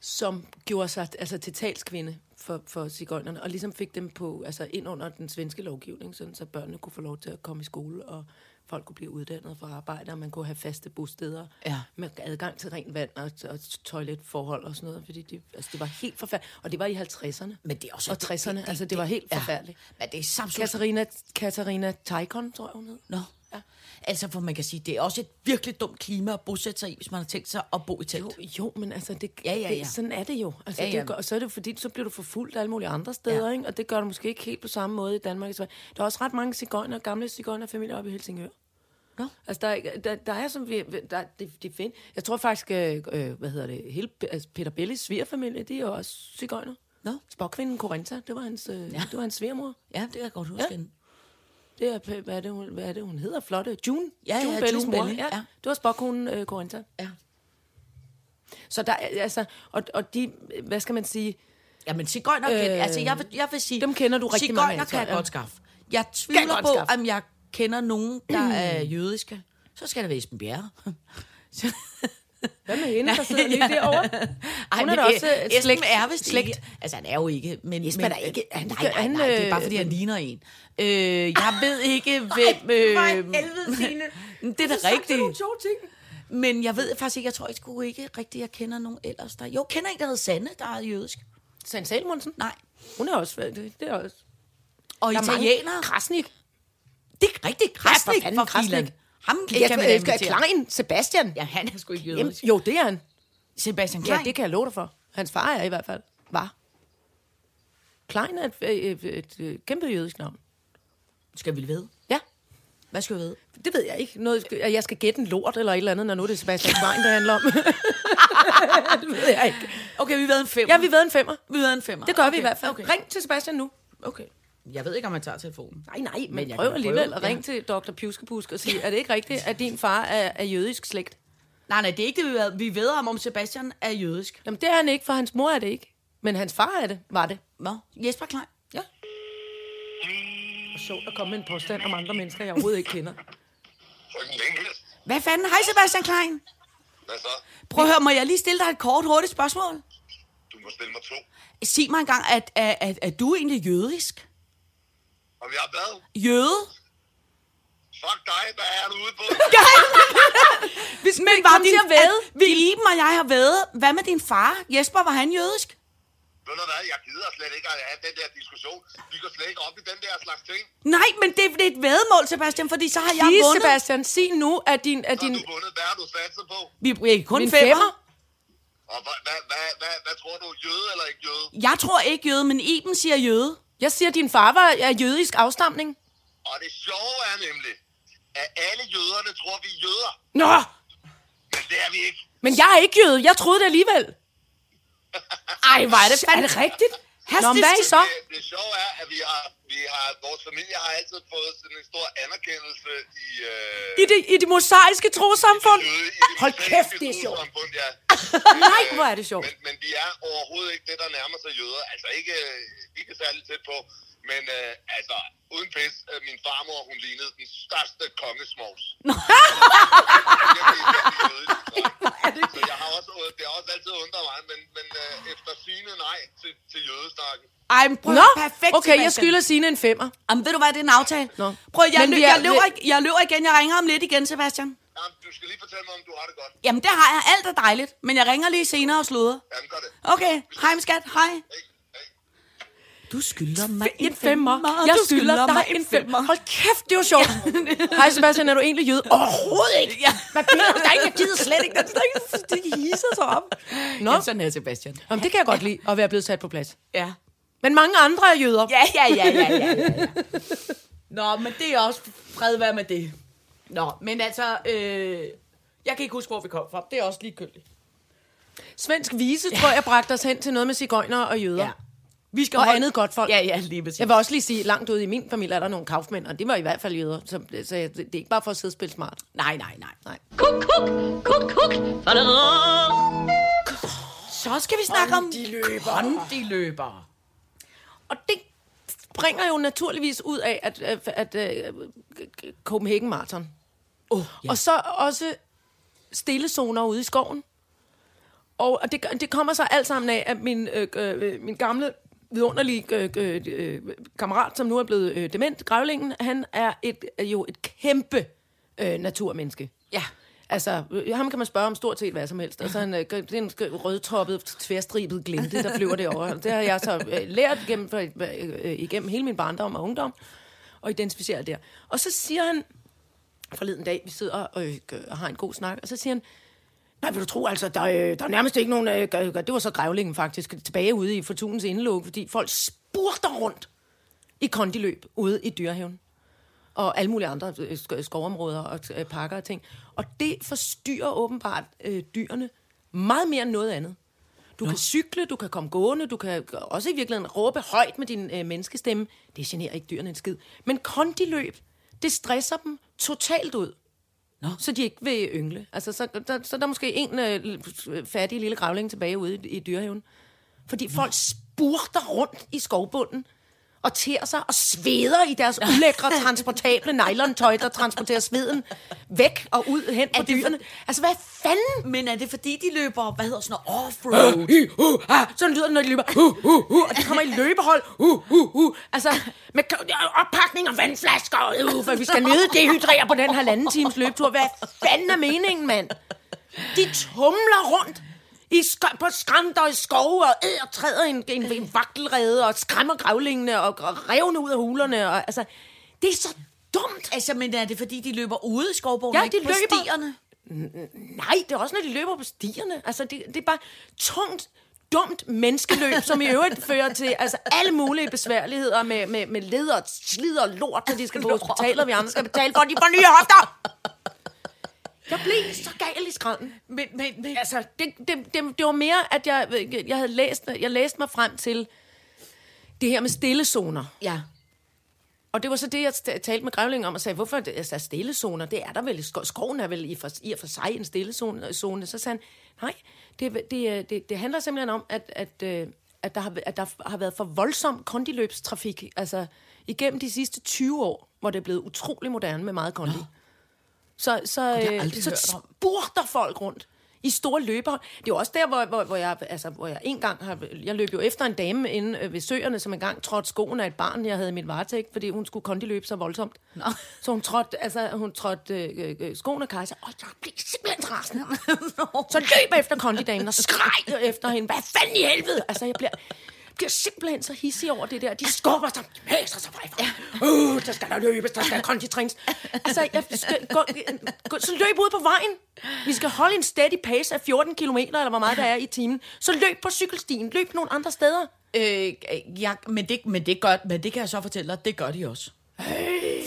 Speaker 4: som gjorde sig altså, til talskvinde for, for cigøjnerne, og ligesom fik dem på, altså, ind under den svenske lovgivning, sådan, så børnene kunne få lov til at komme i skole, og folk kunne blive uddannet for arbejde, og man kunne have faste bosteder
Speaker 3: Ja.
Speaker 4: med adgang til rent vand og, og toiletforhold og sådan noget, fordi det, altså, det var helt forfærdeligt. Og det var i 50'erne.
Speaker 3: Men det er også...
Speaker 4: Og 60'erne, altså, det var helt forfærdeligt.
Speaker 3: Ja, men det er samtidig...
Speaker 4: Katarina, Katarina Taikon, tror jeg, hun hed.
Speaker 3: Nå. Ja. Altså, for man kan sige, det er også et virkelig dumt klima at bosætte sig i, hvis man har tænkt sig at bo i telt.
Speaker 4: Jo, jo, men altså, det,
Speaker 3: Ja, ja, ja.
Speaker 4: det, sådan er det jo. Altså,
Speaker 3: Ja,
Speaker 4: ja,
Speaker 3: ja.
Speaker 4: ja. Det, gør- og så er det jo fordi, så bliver du forfulgt alle mulige andre steder,
Speaker 3: Ja.
Speaker 4: ja. ikke? og det gør du måske ikke helt på samme måde i Danmark. og Sverige. Der er også ret mange cigøjner, gamle cigøjnerfamilier oppe i Helsingør.
Speaker 3: Nå.
Speaker 4: Altså, der, er ikke- der, der er som vi, der, det, det er fint. Jeg tror faktisk, øh, øh, hvad hedder det, hele altså, Peter Bellis svigerfamilie, de er jo også cigøjner.
Speaker 3: Nå.
Speaker 4: Spokvinden Corinta, det var hans, øh,
Speaker 3: Ja.
Speaker 4: ja. det var hans svigermor.
Speaker 3: Ja, det kan jeg godt huske.
Speaker 4: Ja.
Speaker 3: Ja.
Speaker 4: Det er, p- hvad er det, hun, hvad er det, hun hedder? Flotte June.
Speaker 3: Ja,
Speaker 4: June
Speaker 3: ja,
Speaker 4: Bellis
Speaker 3: June
Speaker 4: mor.
Speaker 3: Belli,
Speaker 4: Ja.
Speaker 3: ja.
Speaker 4: Det var spokkonen øh, Corinta.
Speaker 3: Ja.
Speaker 4: Så der, er- altså, og, og de, hvad skal man sige,
Speaker 3: Jamen, cigøjner øh, kan,
Speaker 4: Øh,
Speaker 3: altså, jeg vil, jeg vil sige...
Speaker 4: dem kender du rigtig mange af,
Speaker 3: cigøjner kan jeg
Speaker 4: tror jeg.
Speaker 3: godt skaffe. Jeg
Speaker 4: Kan
Speaker 3: tvivler
Speaker 4: godt
Speaker 3: på,
Speaker 4: skaffe.
Speaker 3: om jeg kender nogen,
Speaker 4: <clears throat>
Speaker 3: der er jødiske. Så skal det være Esben Bjerre.
Speaker 4: Hvad med hende, der sidder
Speaker 3: <laughs>
Speaker 4: lige derovre?
Speaker 3: Ej,
Speaker 4: Hun
Speaker 3: men
Speaker 4: er da
Speaker 3: øh,
Speaker 4: også, øh,
Speaker 3: Esben
Speaker 4: slægt-
Speaker 3: er vist
Speaker 4: slægt.
Speaker 3: ikke. Altså, han er jo ikke. Men, Esben
Speaker 4: er ikke-
Speaker 3: Nej,
Speaker 4: han-
Speaker 3: nej,
Speaker 4: han,
Speaker 3: nej, det er bare,
Speaker 4: øh,
Speaker 3: fordi han ligner en. Øh,
Speaker 4: <laughs>
Speaker 3: jeg ved ikke, hvem... Øh,
Speaker 4: Øhm,
Speaker 3: det er da rigtigt.
Speaker 4: sjove ting.
Speaker 3: Men jeg ved faktisk ikke, jeg tror jeg sgu ikke rigtigt, jeg kender nogen ellers. Der... Jo, kender en, der hedder Sanne, der er jødisk.
Speaker 4: Sand Salmonsen?
Speaker 3: Nej.
Speaker 4: Hun er også, det, det er også.
Speaker 3: Og italienere.
Speaker 4: Krasnik.
Speaker 3: Det er rigtigt. Krasnik
Speaker 4: for fanden,
Speaker 3: for filan.
Speaker 4: Krasnik.
Speaker 3: Ham
Speaker 4: Jeg
Speaker 3: kan
Speaker 4: kan
Speaker 3: man da
Speaker 4: elske
Speaker 3: invitere.
Speaker 4: Klein. Sebastian.
Speaker 3: Ja, han er sgu ikke
Speaker 4: Jamen,
Speaker 3: jødisk.
Speaker 4: jo, det er han.
Speaker 3: Sebastian
Speaker 4: Ja,
Speaker 3: Klein.
Speaker 4: det kan jeg love dig for. Hans far er i hvert fald. Var. Klein er et, øh, et, et, et kæmpe jødisk navn.
Speaker 3: skal vi vide.
Speaker 4: Ja.
Speaker 3: Hvad skal vi vide?
Speaker 4: Det ved jeg ikke. Noget, at jeg skal gætte en lort eller et eller andet, når nu det er Sebastian Klein, det handler om. <laughs> det ved jeg ikke.
Speaker 3: Okay, vi har været en femmer.
Speaker 4: Ja, vi har været en femmer.
Speaker 3: vi har været en femmer.
Speaker 4: Det gør okay. vi
Speaker 3: Okay,
Speaker 4: i hvert fald.
Speaker 3: Okay.
Speaker 4: Okay. Ring til Sebastian nu.
Speaker 3: okay. Jeg ved ikke, om man tager telefonen.
Speaker 4: Nej, nej, men, men
Speaker 3: jeg
Speaker 4: jeg
Speaker 3: kan
Speaker 4: prøv
Speaker 3: da
Speaker 4: alligevel
Speaker 3: prøve,
Speaker 4: at
Speaker 3: ja.
Speaker 4: ringe til Dr. Pjuskebusk og sige, er det ikke rigtigt, at din far er, er jødisk slægt?
Speaker 3: Nej, nej, det er ikke det, vi ved. Vi ved ham, om Sebastian er jødisk.
Speaker 4: Jamen, det er han ikke, for hans mor er det ikke. Men hans far er det, var det.
Speaker 3: Hvad? Jesper Klein?
Speaker 4: Ja. Og sjovt at komme med en påstand om andre mennesker, <laughs> jeg overhovedet ikke kender.
Speaker 5: Frøken Længhed.
Speaker 3: Hvad fanden? Hej, Sebastian Klein.
Speaker 5: Hvad så?
Speaker 3: Prøv at høre, må jeg lige stille dig et kort, hurtigt spørgsmål?
Speaker 5: Du du må stille mig to.
Speaker 3: Sig mig engang, at, at, at, at du er egentlig jødisk?
Speaker 5: Om jeg er hvad?
Speaker 3: Jøde?
Speaker 5: Fuck dig, hvad er du ude på?
Speaker 3: Hvis Men
Speaker 6: vi kom til at vædde?
Speaker 3: At, vil Iben og jeg har været. Hvad med din far? Jesper, var han jødisk?
Speaker 5: Ved du hvad, jeg gider slet ikke at have den der diskussion. Vi går slet ikke op i den der slags ting.
Speaker 3: Nej, men det, det er et væddemål, Sebastian, fordi så har jeg
Speaker 4: Lige,
Speaker 3: vundet.
Speaker 4: Sebastian, sig nu, at din... At
Speaker 5: Så har
Speaker 4: din
Speaker 5: du vundet, hvad har du satset på?
Speaker 3: Vi er kun
Speaker 4: Min
Speaker 3: femmer.
Speaker 4: femmer?
Speaker 5: Og hvad, hvad, hvad, hvad, hvad tror du, jøde eller ikke jøde?
Speaker 3: Jeg tror ikke jøde, men Iben siger jøde.
Speaker 4: jeg siger, at din far var af jødisk afstamning.
Speaker 5: Og det sjove er nemlig, at alle jøderne tror, vi er jøder.
Speaker 4: Nå,
Speaker 5: Men det er vi ikke.
Speaker 4: men jeg er ikke jøde. Jeg troede det alligevel. Ej, hvor er det Er det rigtigt? Nå, men hvad er I så?
Speaker 5: Det, det sjove er, at vi har, vi har, vores familie har altid fået sådan en stor anerkendelse i... Øh,
Speaker 4: I det, i det mosaiske trosamfund?
Speaker 5: jøde i det
Speaker 4: Hold
Speaker 5: mosaiske
Speaker 4: kæft, det er sjovt.
Speaker 5: trossamfund, Ja.
Speaker 4: <laughs> Nej, hvor er det sjovt.
Speaker 5: Men, men vi er overhovedet ikke det, der nærmer sig jøder. Altså ikke, ikke særlig tæt på. Men øh, altså, uden pis, øh, min farmor, hun lignede den største kongesmovs. <laughs> Så jeg har også, øh, det har også altid undret mig, men, men øh, efter sine nej til, til jødesnakken.
Speaker 3: Ej, men prøv
Speaker 4: Nå,
Speaker 3: perfekt,
Speaker 4: okay,
Speaker 3: Sebastian.
Speaker 4: jeg skylder sine en femmer.
Speaker 3: Jamen, ved du hvad, det er en aftale.
Speaker 4: Nå.
Speaker 3: Prøv, jeg,
Speaker 4: Men
Speaker 3: lø-
Speaker 4: vi er-
Speaker 3: jeg, løber, ikke- jeg løber igen. Jeg ringer om lidt igen, Sebastian.
Speaker 5: Jamen, du skal lige fortælle mig, om du har det godt.
Speaker 3: Jamen, det har jeg. Alt er dejligt. Men jeg ringer lige senere og sluder.
Speaker 5: Jamen, gør det.
Speaker 3: Okay, hej, min skat. Hej.
Speaker 5: Hej. Hej.
Speaker 3: Du skylder mig
Speaker 4: En femmer. Jeg skylder dig en femmer. Hold kæft, det var sjovt.
Speaker 3: <laughs>
Speaker 4: Hej Sebastian, er du egentlig jøde? Overhovedet ikke.
Speaker 3: Ja.
Speaker 4: Hvad beder du dig? Jeg gider slet ikke. Det er ikke- Det hisser sig op. Nå,
Speaker 3: Ja, sådan her, Sebastian.
Speaker 4: Jamen, det kan jeg godt lide, at være blevet sat på plads.
Speaker 3: Ja.
Speaker 4: Men mange andre er jøder.
Speaker 3: Ja, ja, ja, ja, ja, ja. Nå, men det er også fred være med det. Nå, men altså, øh, jeg kan ikke huske, hvor vi kom fra. Det er også ligegyldigt.
Speaker 4: Svensk vise, tror jeg, bragte os hen til noget med cigøjner og jøder.
Speaker 3: Ja.
Speaker 4: Vi skal
Speaker 3: Og
Speaker 4: og
Speaker 3: hold-
Speaker 4: andet godt folk.
Speaker 3: Ja, ja, lige præcis.
Speaker 4: Jeg vil også lige sige, langt ude i min familie er der nogle kaufmænd, og det var i hvert fald jøder. Så, så jeg- det er ikke bare for at sidde og spille smart.
Speaker 3: Nej, nej, nej.
Speaker 4: Nej.
Speaker 2: Kuk, kuk, kuk, kuk.
Speaker 3: Så skal vi snakke om de løber. de løber.
Speaker 4: Og det bringer jo naturligvis ud af, at, at, at, at øh, Copenhagen Marathon.
Speaker 3: Oh,
Speaker 4: Ja. Og så også stille zoner ude i skoven. Og, og det, det kommer så alt sammen af, at min, øh, øh, min gamle vidunderlige øh, øh, øh, kammerat, som nu er blevet øh, dement, Grævlingen, han er, et, er jo et kæmpe øh, naturmenneske.
Speaker 3: Ja.
Speaker 4: Altså, øh, ham kan man spørge om stort set hvad som helst. Altså, han, øh, gør- det er en sk- rødtoppet, tværstribet glinte, der flyver det over. Det har jeg så øh, lært gennem, øh, øh, igennem hele min barndom og ungdom, og identificeret der. Og så siger han, forleden dag, vi sidder og, øh, og har en god snak, og så siger han, Nej, vil du tro, altså, der, øh, der er nærmest ikke nogen... Øh, gør- gør- det var så grævlingen faktisk, tilbage ude i Fortunens indelåg, fordi folk spurter rundt i kondiløb ude i dyrehaven og alle mulige andre øh, sk- skovområder og øh, parker og ting. Og det forstyrrer åbenbart øh, dyrene meget mere end noget andet. Du Nå. kan cykle, du kan komme gående, du kan også i virkeligheden råbe højt med din øh, menneskestemme. Det generer ikke dyrene en skid. Men kondiløb, det stresser dem totalt ud. Nå. Så de ikke vil yngle. Altså, så, der, så der er måske en øh, fattig lille gravling tilbage ude i, i dyrehaven. Fordi folk spurter rundt i skovbunden og tærer sig og sveder i deres
Speaker 3: <laughs>
Speaker 4: ulækre, transportable nylontøj, der transporterer sveden væk og ud hen på
Speaker 3: det for-
Speaker 4: dyrene. Altså, hvad fanden?
Speaker 3: Men er det fordi, de løber, hvad hedder sådan noget, offroad?
Speaker 4: Uh, uh, ah, sådan lyder det, når de løber. Uh, uh, uh, og de kommer i løbehold. Uh, uh, uh. Altså, med k- øh, oppakning og vandflasker. Uh, for vi skal nede dehydrere på den halvanden times løbetur. Hvad fanden er meningen, mand? De tumler rundt i sk- på skrænter og i skove og æder træder en, en, en vakkelrede og skræmmer grævlingene og, og revne ud af hulerne. Og, altså, det er så dumt.
Speaker 3: Altså, men er det fordi, de løber ude i skovbogen,
Speaker 4: Ja,
Speaker 3: og ikke
Speaker 4: de
Speaker 3: på
Speaker 4: løber.
Speaker 3: stierne?
Speaker 4: Nej, det er også, når de løber på stierne. Altså, det, det er bare tungt, dumt menneskeløb, som i
Speaker 3: <laughs>
Speaker 4: øvrigt fører til altså, alle mulige besværligheder med, med, med led og slid og lort, når de skal på hospitalet, og vi andre skal betale for, at de får nye hofter. Jeg blev så gal i skralden.
Speaker 3: Men, men, men,
Speaker 4: Altså, det, det, det, det var mere, at jeg, jeg havde læst, jeg læste mig frem til det her med stillezoner.
Speaker 3: ja.
Speaker 4: Og det var så det, jeg t- talte med Grævling om og sagde, hvorfor er det, altså, stillezoner, det er der vel, i sko- skoven er vel i, for, i og for sig en stillezone. øh, zone. Så sagde han, nej, det, det, øh, det, det handler simpelthen om, at, at, øh, at, der har, at der har været for voldsom kondiløbstrafik, altså igennem de sidste 20 år, hvor det er blevet utrolig moderne med meget kondi. Så, så,
Speaker 3: jeg
Speaker 4: øh,
Speaker 3: aldrig
Speaker 4: så
Speaker 3: hørt om.
Speaker 4: spurter folk rundt I store løber. Det er jo også der, hvor, hvor, hvor, jeg, altså, hvor jeg engang har... Jeg løb jo efter en dame inde øh, ved søerne, som engang trådte skoen af et barn, jeg havde i mit varetægt, fordi hun skulle kondiløbe så voldsomt. Nå. Så hun trådte, altså, hun trådte øh, øh, skoen af Kajsa, og så blev jeg simpelthen så rasende. så løb jeg efter kondidamen og skreg efter hende. Hvad fanden i helvede? Altså, jeg bliver bliver simpelthen så hissig over det der. De skubber sig, de mæser sig fra. Uh, der skal der løbes, der skal konditrings. Altså, jeg skal, gå, gå, så løb ud på vejen. Vi skal holde en steady pace af 14 km, eller hvor meget der er i timen. Så løb på cykelstien, løb nogle andre steder.
Speaker 3: Øh, jeg, men, det, men, det gør, men det kan jeg så fortælle dig, det gør de også.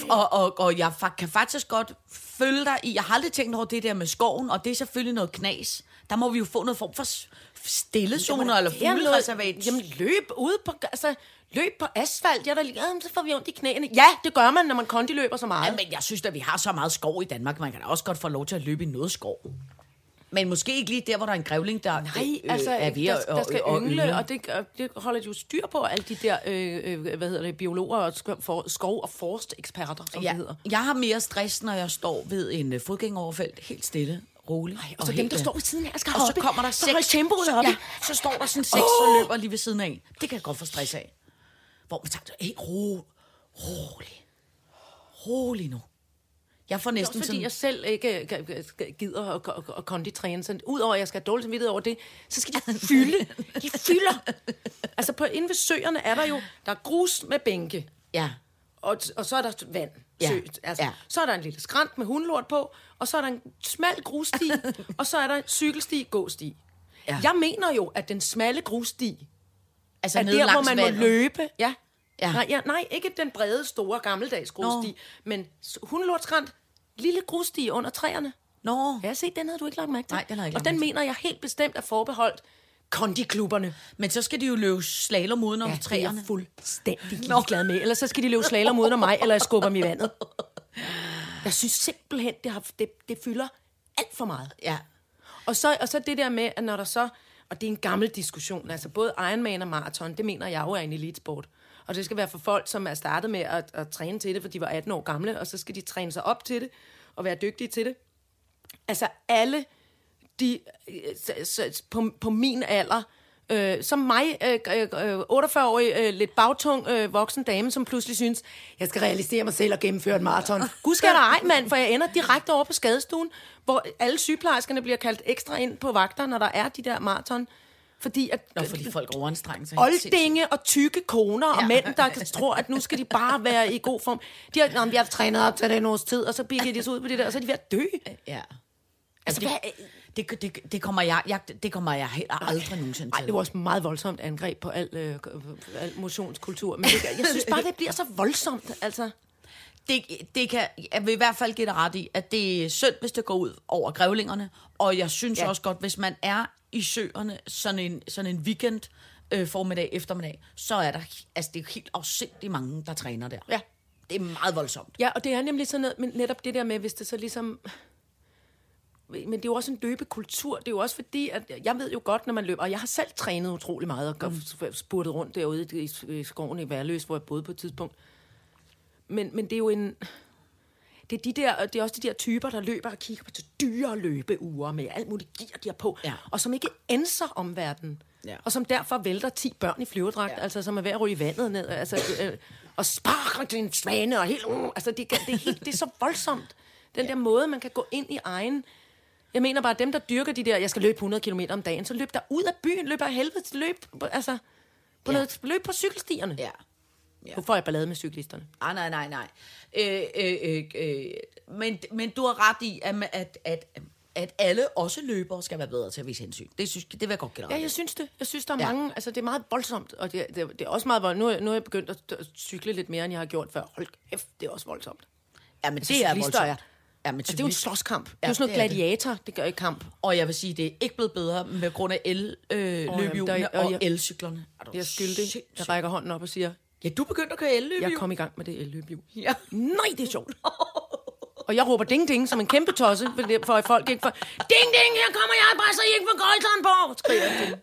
Speaker 3: Og, og, og jeg fa- kan faktisk godt følge dig i, jeg har aldrig tænkt over det der med skoven, og det er selvfølgelig noget knas. Der må vi jo få noget form for s- stillezoner eller
Speaker 4: Jamen,
Speaker 3: fuglereservat.
Speaker 4: Jamen, løb ud på, altså, løb på asfalt. Jeg er da lige, "Jamen, så får vi ondt i knæene. Ja, det gør man, når man kondiløber så meget.
Speaker 3: Ja, men jeg synes at vi har så meget skov i Danmark, man kan da også godt få lov til at løbe i noget skov. Men måske ikke lige der, hvor der er en grævling, der øh,
Speaker 4: Nej, altså,
Speaker 3: er ved
Speaker 4: der,
Speaker 3: at-
Speaker 4: der skal
Speaker 3: at- at
Speaker 4: yngle, og det, gør- det holder de jo styr på, alle de der, øh, øh, hvad hedder det, biologer og sk- for, skov- og forsteksperter, som ja. det hedder.
Speaker 3: Jeg har mere stress, når jeg står ved en uh, fodgængeroverfelt, helt stille, roligt. øh, Ej,
Speaker 4: og så dem, der står ved siden af, skal
Speaker 3: og
Speaker 4: hoppe.
Speaker 3: så kommer der
Speaker 4: Så
Speaker 3: seks.
Speaker 4: hold tempoet oppe.
Speaker 3: Ja, så står der sådan seks, oh! og løber lige ved siden af. Det kan jeg godt få stress af. Hvor man tager, hey, ro, rolig. Rolig nu. Jeg får
Speaker 4: Det er
Speaker 3: næsten
Speaker 4: også fordi,
Speaker 3: sådan...
Speaker 4: jeg selv ikke øh, g- g- g- gider at, at, at konditræne. Så udover at jeg skal have dårlig samvittighed over det, så skal de fylde. De fylder. Altså, på, inde ved søerne er der jo, der er grus med bænke.
Speaker 3: Ja.
Speaker 4: og, og så er der vand.
Speaker 3: Ja,
Speaker 4: Sø, altså,
Speaker 3: ja.
Speaker 4: ja. Så er der en lille skrant med hundlort på, og så er der en smal <laughs> grussti, og så er der en cykelsti, gåsti.
Speaker 3: Ja.
Speaker 4: Ja. Jeg mener jo, at den smalle grussti
Speaker 3: Altså
Speaker 4: er
Speaker 3: nede
Speaker 4: der, hvor
Speaker 3: langs
Speaker 4: man vandet.
Speaker 3: vandet.
Speaker 4: må løbe. Ja.
Speaker 3: Ja.
Speaker 4: Ja. Nej, ja, nej, ikke den brede, store, gammeldags grussti,
Speaker 3: Nå.
Speaker 4: Nå. men s- hundlortskrant, lille grussti under træerne.
Speaker 3: Nå.
Speaker 4: Ja, se, den havde du ikke lagt mærke til.
Speaker 3: Nej, den havde jeg ikke
Speaker 4: Og
Speaker 3: lagt
Speaker 4: den
Speaker 3: mærke
Speaker 4: mener jeg helt bestemt er forbeholdt kondiklubberne.
Speaker 3: Men så skal de jo løbe slalom udenom ja,
Speaker 4: Det er
Speaker 3: træerne.
Speaker 4: jeg fuldstændig ligeglad med. Ellers så skal de løbe slalom uden om mig, eller jeg skubber dem i vandet. Jeg synes simpelthen, det, har, det, det fylder alt for meget.
Speaker 3: Ja.
Speaker 4: Og så, og så det der med, at når der så... Og det er en gammel diskussion. Altså både Ironman og maraton, det mener jeg jo er en elitesport. Og det skal være for folk, som er startet med at, at træne til det, for de var 18 år gamle, og så skal de træne sig op til det, og være dygtige til det. Altså alle de øh, så, så, på, på min alder, øh, som mig, øh, øh, øh, 48-årig, øh, lidt bagtung øh, voksen dame, som pludselig synes, jeg skal realisere mig selv og gennemføre et maraton.
Speaker 3: <laughs>
Speaker 4: Gud skal der ej, mand, for jeg ender direkte over på skadestuen, hvor alle sygeplejerskerne bliver kaldt ekstra ind på vagter, når der er de der maraton. Fordi at
Speaker 3: Nå, fordi folk overanstrenger sig.
Speaker 4: olddinge og tykke koner og
Speaker 3: Ja.
Speaker 4: mænd, der tror, at nu skal de bare være i god form. De har, "Nå, men jeg har trænet op til det en års tid, og så bikker de sig ud på det der, og så er de ved at dø.
Speaker 3: Ja.
Speaker 4: Altså,
Speaker 3: det,
Speaker 4: hvad,
Speaker 3: det, det, det, kommer jeg, jeg, det kommer jeg heller aldrig nogensinde
Speaker 4: Nej, det var også et meget voldsomt angreb på al, øh, al motionskultur. Men det, jeg synes bare, det bliver så voldsomt, altså.
Speaker 3: det, det kan, jeg vil i hvert fald give dig ret i, at det er synd, hvis det går ud over grævlingerne. Og jeg synes ja.
Speaker 4: Ja.
Speaker 3: også godt, hvis man er i søerne sådan en, sådan en weekend øh, formiddag, eftermiddag, så er der altså, det er jo helt afsindig mange, der træner der.
Speaker 4: Ja.
Speaker 3: Det er meget voldsomt.
Speaker 4: Ja, og det er nemlig sådan noget, men netop det der med, hvis det så ligesom... Men det er jo også en løbekultur. Det er jo også fordi, at jeg ved jo godt, når man løber, og jeg har selv trænet utrolig meget og mm. spurtet rundt derude i, i skoven i Værløs, hvor jeg boede på et tidspunkt. Men, men det er jo en... Det er, de der, og det er også de der typer, der løber og kigger på til dyre løbeure med alt muligt gear, de har på,
Speaker 3: Ja.
Speaker 4: og som ikke ændrer omverdenen.
Speaker 3: Ja.
Speaker 4: Og som derfor vælter 10 børn i flyverdragt, ja. altså som er ved at ryge i vandet ned, altså, øh, og sparker til en svane, og helt, uh, altså det, kan- det, er helt, det er så voldsomt. Den ja. der måde, man kan gå ind i egen... Jeg mener bare, dem, der dyrker de der, jeg skal løbe 100 km om dagen, så løb der ud af byen, løb af helvede, til løb, på- altså, på
Speaker 3: Ja.
Speaker 4: ja. noget, løb på cykelstierne. Ja. Nu får jeg ballade med cyklisterne.
Speaker 3: Ah, nej, nej, nej. Øh, øh, øh, øh, men, men du har ret i, at, at, at, at alle, også løbere, skal være bedre til at vise hensyn. Det, synes, det vil jeg godt give dig ret
Speaker 4: Ja,
Speaker 3: i.
Speaker 4: jeg synes det. Jeg synes, der er
Speaker 3: Ja.
Speaker 4: ja. mange... Altså, det er meget voldsomt, og det, det, det er også meget voldsomt. Nu, er- nu er jeg begyndt at at cykle lidt mere, end jeg har gjort før. Hold kæft, det er også voldsomt.
Speaker 3: Ja, men
Speaker 4: Det er voldsomt.
Speaker 3: Ja,
Speaker 4: Ja,
Speaker 3: men
Speaker 4: Altså, det er jo en slåskamp. Ja, det
Speaker 3: Ja,
Speaker 4: er jo sådan
Speaker 3: det er
Speaker 4: noget
Speaker 3: det.
Speaker 4: gladiator, det gør i kamp.
Speaker 3: Og jeg vil sige, det er ikke blevet bedre med grund af
Speaker 4: Åh, jamen, der
Speaker 3: el-løbehjulene
Speaker 4: er-
Speaker 3: øh, oh,
Speaker 4: og
Speaker 3: og
Speaker 4: jeg-
Speaker 3: elcyklerne. Er du
Speaker 4: Jeg er skyldig. Jeg rækker hånden op og siger,
Speaker 3: Ja, du begyndte at køre el-løbehjul.
Speaker 4: jeg kom i gang med det elløbhjul.
Speaker 3: Ja.
Speaker 4: Nej, det er
Speaker 3: <laughs>
Speaker 4: sjovt. Og jeg råber ding ding som en kæmpe tosse, for det- for at folk ikke får... Ding ding, her kommer jeg, bare så I ikke får Goldtornborg, skriger jeg til dem.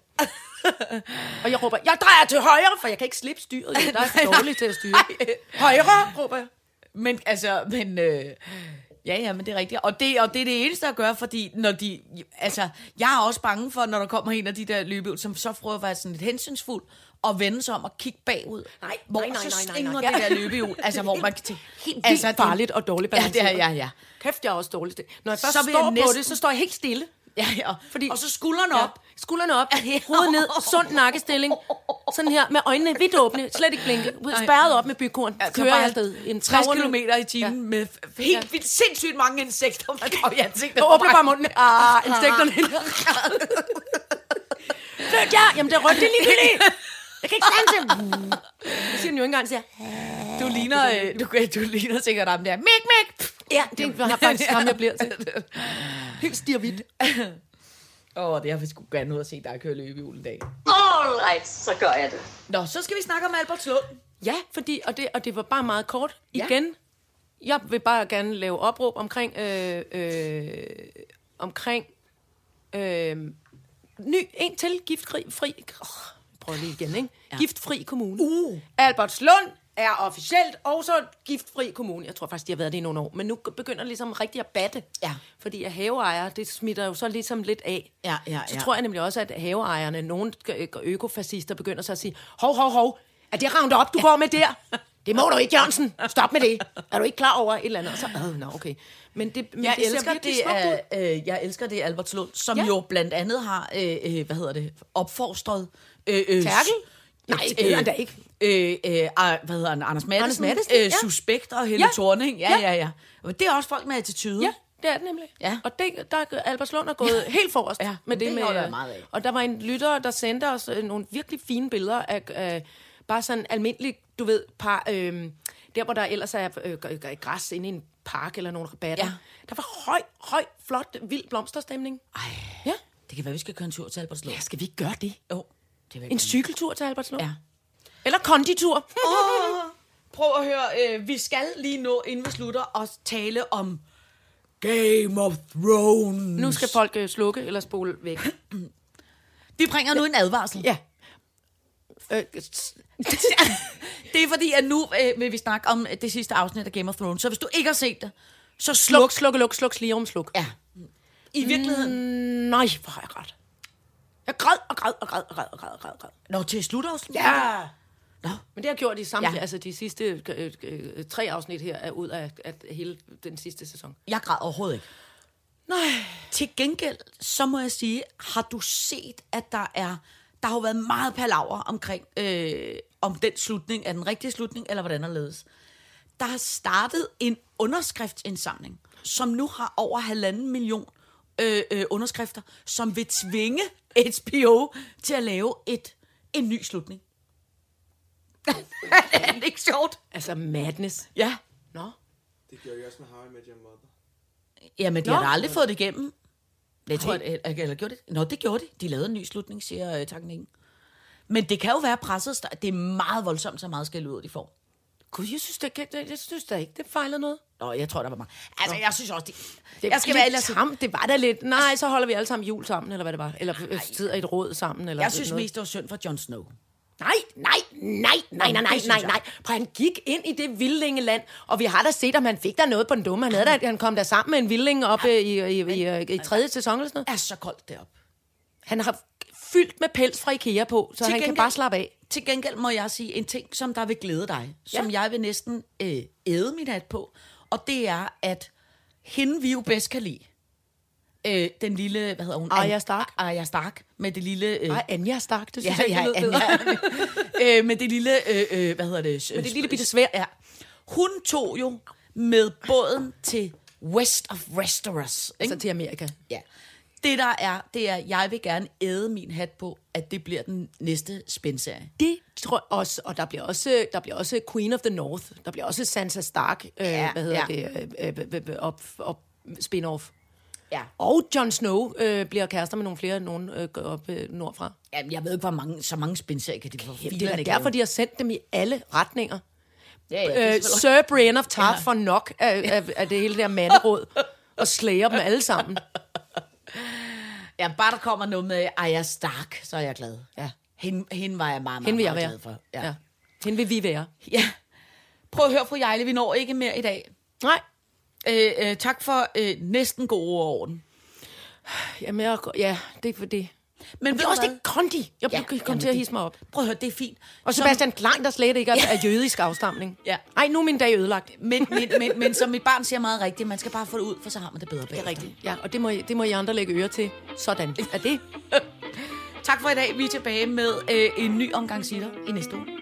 Speaker 3: <laughs>
Speaker 4: Og jeg råber, jeg drejer til højre, for jeg kan ikke slippe
Speaker 3: <laughs>
Speaker 4: styret. jo. Der er jeg for dårlig til at styre. Højre, råber jeg.
Speaker 3: Men altså, men... Øh, Ja, ja, men det er rigtigt. Og det, og det er det eneste at gøre, fordi når de... Altså, jeg er også bange for, når der kommer en af de der løbeøl, som så prøver at være sådan lidt hensynsfuld, og vende sig om og kigge bagud.
Speaker 4: Nej,
Speaker 3: hvor
Speaker 4: nej, nej,
Speaker 3: så
Speaker 4: nej, nej,
Speaker 3: stringer
Speaker 4: nej.
Speaker 3: det der løbehjul. Altså, hvor man kan tænke...
Speaker 4: <laughs> Helt altså, vildt
Speaker 3: det-
Speaker 4: farligt og dårligt
Speaker 3: Ja, det er, ja, ja.
Speaker 4: Kæft, jeg er også dårligt. Når jeg først
Speaker 3: Så
Speaker 4: så
Speaker 3: vil
Speaker 4: står
Speaker 3: jeg
Speaker 4: jeg på
Speaker 3: næsten-
Speaker 4: det, så står jeg helt stille.
Speaker 3: ja, ja. Fordi,
Speaker 4: Fordi-
Speaker 3: og så skuldrene
Speaker 4: Ja.
Speaker 3: op.
Speaker 4: Skuldrene op, <laughs> hovedet ned, sund nakkestilling. Sådan her, med øjnene vidt åbne, slet ikke blinke. Ud- Spærret op med bykorn.
Speaker 3: Ja, så
Speaker 4: Kører
Speaker 3: bare
Speaker 4: jeg afsted. En
Speaker 3: 60
Speaker 4: travende-
Speaker 3: km i timen ja. med f- helt vildt sindssygt mange insekter, man går i ansigtet.
Speaker 4: Jeg åbner bare munden. Ah, insekterne. Flyt jer! Jamen, det
Speaker 3: <laughs>
Speaker 4: er rødt, det er ligegyldigt. Jeg kan ikke stanse. Det siger den jo ikke engang, siger.
Speaker 3: Du ligner, øh, du, du ligner sikkert ham der. Mik, mik!
Speaker 4: Ja, det er faktisk ham, jeg bliver til.
Speaker 3: <laughs>
Speaker 4: Helt stirvidt.
Speaker 3: Åh, oh, det jeg vil sgu gerne ud og se dig køre løbehjul en dag.
Speaker 2: Alright, så gør jeg det.
Speaker 3: Nå, så skal vi snakke om Albertslund.
Speaker 4: Ja, fordi, og, det, og det var bare meget kort. Igen, jeg vil bare gerne lave opråb omkring, øh, øh, omkring øh, ny, en til giftfri, fri, oh, prøv lige igen, ikke? Ja. Giftfri kommune. Uh. Albertslund er officielt også giftfri kommune. Jeg tror faktisk, de har været det i nogle år, men nu begynder ligesom rigtig at batte.
Speaker 3: Ja.
Speaker 4: Fordi at haveejere, det smitter jo så ligesom lidt af.
Speaker 3: Ja, ja,
Speaker 4: så
Speaker 3: ja.
Speaker 4: tror jeg nemlig også, at haveejerne, nogle ø- økofascister, begynder så at sige, hov, hov, hov, er det round op, du går med der? Det må du ikke, Jørgensen. Stop med det. Er du ikke klar over et eller andet? Og Så, øh, nå, okay. Men det, men
Speaker 3: Jeg
Speaker 4: det ser
Speaker 3: elsker
Speaker 4: virkelig
Speaker 3: det,
Speaker 4: smukt ud.
Speaker 3: er, øh, jeg elsker det Albertslund, som ja.
Speaker 4: Ja.
Speaker 3: jo blandt andet har, øh, øh, hvad hedder det, opfostret... Øh, øh,
Speaker 4: Terkel?
Speaker 3: Nej,
Speaker 4: det hedder han da ikke.
Speaker 3: Øh, øh, ah, hvad hedder han? Anders Madsen,
Speaker 4: Anders Matthesen,
Speaker 3: øh,
Speaker 4: ja.
Speaker 3: Suspekt og Helle ja.
Speaker 4: Ja.
Speaker 3: Thorning. Ja, ja,
Speaker 4: Ja.
Speaker 3: ja. ja. Det er også folk med attitude.
Speaker 4: Ja, det er det nemlig.
Speaker 3: Mm. Ja.
Speaker 4: Og det, der er Albertslund er gået helt forrest
Speaker 3: Ja,
Speaker 4: ja,
Speaker 3: men
Speaker 4: med det,
Speaker 3: det
Speaker 4: med.
Speaker 3: holder jeg meget af.
Speaker 4: Og der var en lytter, der sendte os øh, nogle virkelig fine billeder af øh, bare sådan almindelig, du ved, par, øh, der hvor der ellers er øh, g- g- græs inde i en park eller nogle rabatter.
Speaker 3: Ja.
Speaker 4: Ja. Der var høj, høj, flot, vild blomsterstemning.
Speaker 3: Ej,
Speaker 4: Ja.
Speaker 3: det kan være, vi skal køre en tur til Albertslund.
Speaker 4: Skal vi ikke gøre det?
Speaker 3: Jo, det vil
Speaker 4: En cykeltur til Albertslund?
Speaker 3: Ja.
Speaker 4: Eller konditur?
Speaker 3: Prøv at høre, øh, vi skal lige nå, inden vi slutter, at tale om Game of Thrones.
Speaker 4: Nu skal folk øh, slukke eller spole
Speaker 3: <laughs>
Speaker 4: væk.
Speaker 3: Vi bringer nu en advarsel.
Speaker 4: ja. Øh, s- <laughs>
Speaker 3: det er fordi, at nu øh, vil vi snakke om øh, det sidste afsnit af Game of Thrones. Så hvis du ikke har set det, så sluk.
Speaker 4: sluk, sluk, sluk, sluk, sluk, sluk.
Speaker 3: Ja. I virkeligheden. Mm.
Speaker 4: Nej, hvor har jeg grædt. Jeg græd og græd og græd og græd og græd og græd. Og græd.
Speaker 3: Nå, til slutafsnit.
Speaker 4: Ja! Nå. Men det har jeg gjort i samtlige,
Speaker 3: Ja.
Speaker 4: ja. altså de sidste øh, øh, tre afsnit her er ud af, af hele den sidste sæson.
Speaker 3: Jeg græd overhovedet ikke. Nej. Til gengæld, så må jeg sige, har du set, at der er... Der har jo været meget palaver omkring, øh, om den slutning, er den rigtige slutning, eller hvordan den ledes. Der har startet en underskriftsindsamling, som nu har over halvanden million øh, øh, underskrifter, som vil tvinge HBO til at lave et, en ny slutning. <laughs> er det ikke sjovt?
Speaker 4: Altså madness.
Speaker 3: Ja.
Speaker 4: Nå.
Speaker 7: Det gjorde jeg også med How I Met Your Mother.
Speaker 3: Jamen, de har
Speaker 4: Nå.
Speaker 3: da aldrig fået det igennem. Jeg tror, at, eller, eller gjorde det? Nå, det gjorde de. De lavede en ny slutning, siger øh, takningen. Men det kan jo være presset. sta- Det er meget voldsomt, så meget skal ud, de får.
Speaker 4: Gud, jeg synes, det, jeg, jeg synes da ikke, det fejler noget.
Speaker 3: Nå, jeg tror, der var meget. Altså, jeg synes også, de,
Speaker 4: Det,
Speaker 3: jeg skal være
Speaker 4: lidt
Speaker 3: ærlig og sige,
Speaker 4: tam, det var da lidt. Nej, så holder vi alle sammen jul sammen, eller hvad det var. Eller øh, sidder i et råd sammen, eller
Speaker 3: Jeg synes
Speaker 4: noget.
Speaker 3: mest, det var synd for Jon Snow.
Speaker 4: Nej, nej, nej, nej, nej, nej,
Speaker 3: synes
Speaker 4: nej,
Speaker 3: jeg.
Speaker 4: nej. Prøv, han gik ind i det vildlingeland, og vi har da set, om han fik der noget på den dumme. Han, havde da, han kom der sammen med en vildling op øh, i, i, i, i, i tredje sæson eller sådan
Speaker 3: Det
Speaker 4: noget.
Speaker 3: er så koldt deroppe.
Speaker 4: Han har fyldt med pels fra Ikea på, så
Speaker 3: Til
Speaker 4: han kan
Speaker 3: gengæld-
Speaker 4: bare slappe af.
Speaker 3: Til gengæld må jeg sige en ting, som der vil glæde dig, som
Speaker 4: Ja.
Speaker 3: jeg vil næsten øh, æde min hat på, og det er, at hende vi jo bedst kan lide, øh, den lille, hvad hedder hun?
Speaker 4: Arya
Speaker 3: An-
Speaker 4: Stark.
Speaker 3: Arya Stark, med det lille... Øh,
Speaker 4: Nej, Anja Stark, det
Speaker 3: Ja,
Speaker 4: synes jeg,
Speaker 3: ja,
Speaker 4: ikke
Speaker 3: ja,
Speaker 4: lød bedre.
Speaker 3: ja. <laughs> øh, med det lille, øh, øh, hvad hedder det? Med
Speaker 4: det lille bitte sværd.
Speaker 3: Ja. Hun tog jo med båden til West of Westeros. Ikke?
Speaker 4: Altså til Amerika.
Speaker 3: Ja. Det der er, det er, jeg vil gerne æde min hat på, at det bliver den næste spænserie.
Speaker 4: Det tror jeg også, og der bliver også, der bliver også Queen of the North, der bliver også Sansa Stark, øh,
Speaker 3: Ja,
Speaker 4: hvad hedder
Speaker 3: ja.
Speaker 4: det, øh, øh, øh, øh, op, op, spin-off.
Speaker 3: Ja.
Speaker 4: Og Jon Snow øh, bliver kærester med nogle flere nogen øh, går op øh, nordfra.
Speaker 3: Jamen, jeg ved ikke, hvor mange, så mange spænserier kan de få.
Speaker 4: Jamen, det er da derfor, de har sendt dem i alle retninger.
Speaker 3: ja, ja, det er
Speaker 4: Øh,
Speaker 3: selvfølgelig-
Speaker 4: Sir Brian of Tarth ja. får nok af, af, af det hele der manderåd og slæger dem alle sammen.
Speaker 3: ja, bare der kommer noget med Arya Stark, så er jeg glad.
Speaker 4: Ja.
Speaker 3: Hende, hende var jeg meget, meget,
Speaker 4: Hende vil jeg
Speaker 3: meget
Speaker 4: være.
Speaker 3: glad for.
Speaker 4: Ja. Ja. Hende vil vi være.
Speaker 3: ja. Prøv at høre, fru Jejle, vi når ikke mere i dag.
Speaker 4: Nej,
Speaker 3: Øh, øh, tak for øh, næsten god ord og orden.
Speaker 4: Jamen, jeg, er- ja, det er for det.
Speaker 3: Men
Speaker 4: Det er også
Speaker 3: hvad?
Speaker 4: det kondi. Jeg ja, kom
Speaker 3: jamen,
Speaker 4: til at
Speaker 3: det-
Speaker 4: hisse mig op.
Speaker 3: Prøv at høre, det er fint.
Speaker 4: Og
Speaker 3: Som-
Speaker 4: Sebastian Klein, der slet ikke er, er jødisk afstamning.
Speaker 3: Ja.
Speaker 4: Ej, nu er min dag ødelagt.
Speaker 3: Men, men, men, men som mit barn siger meget rigtigt, man skal bare få det ud, for så har man det bedre bagefter.
Speaker 4: Ja, og det må, I- det må I andre lægge øre til. Sådan er det.
Speaker 3: <laughs> Tak for i dag. Vi er tilbage med øh, en ny omgang sitter i næste uge.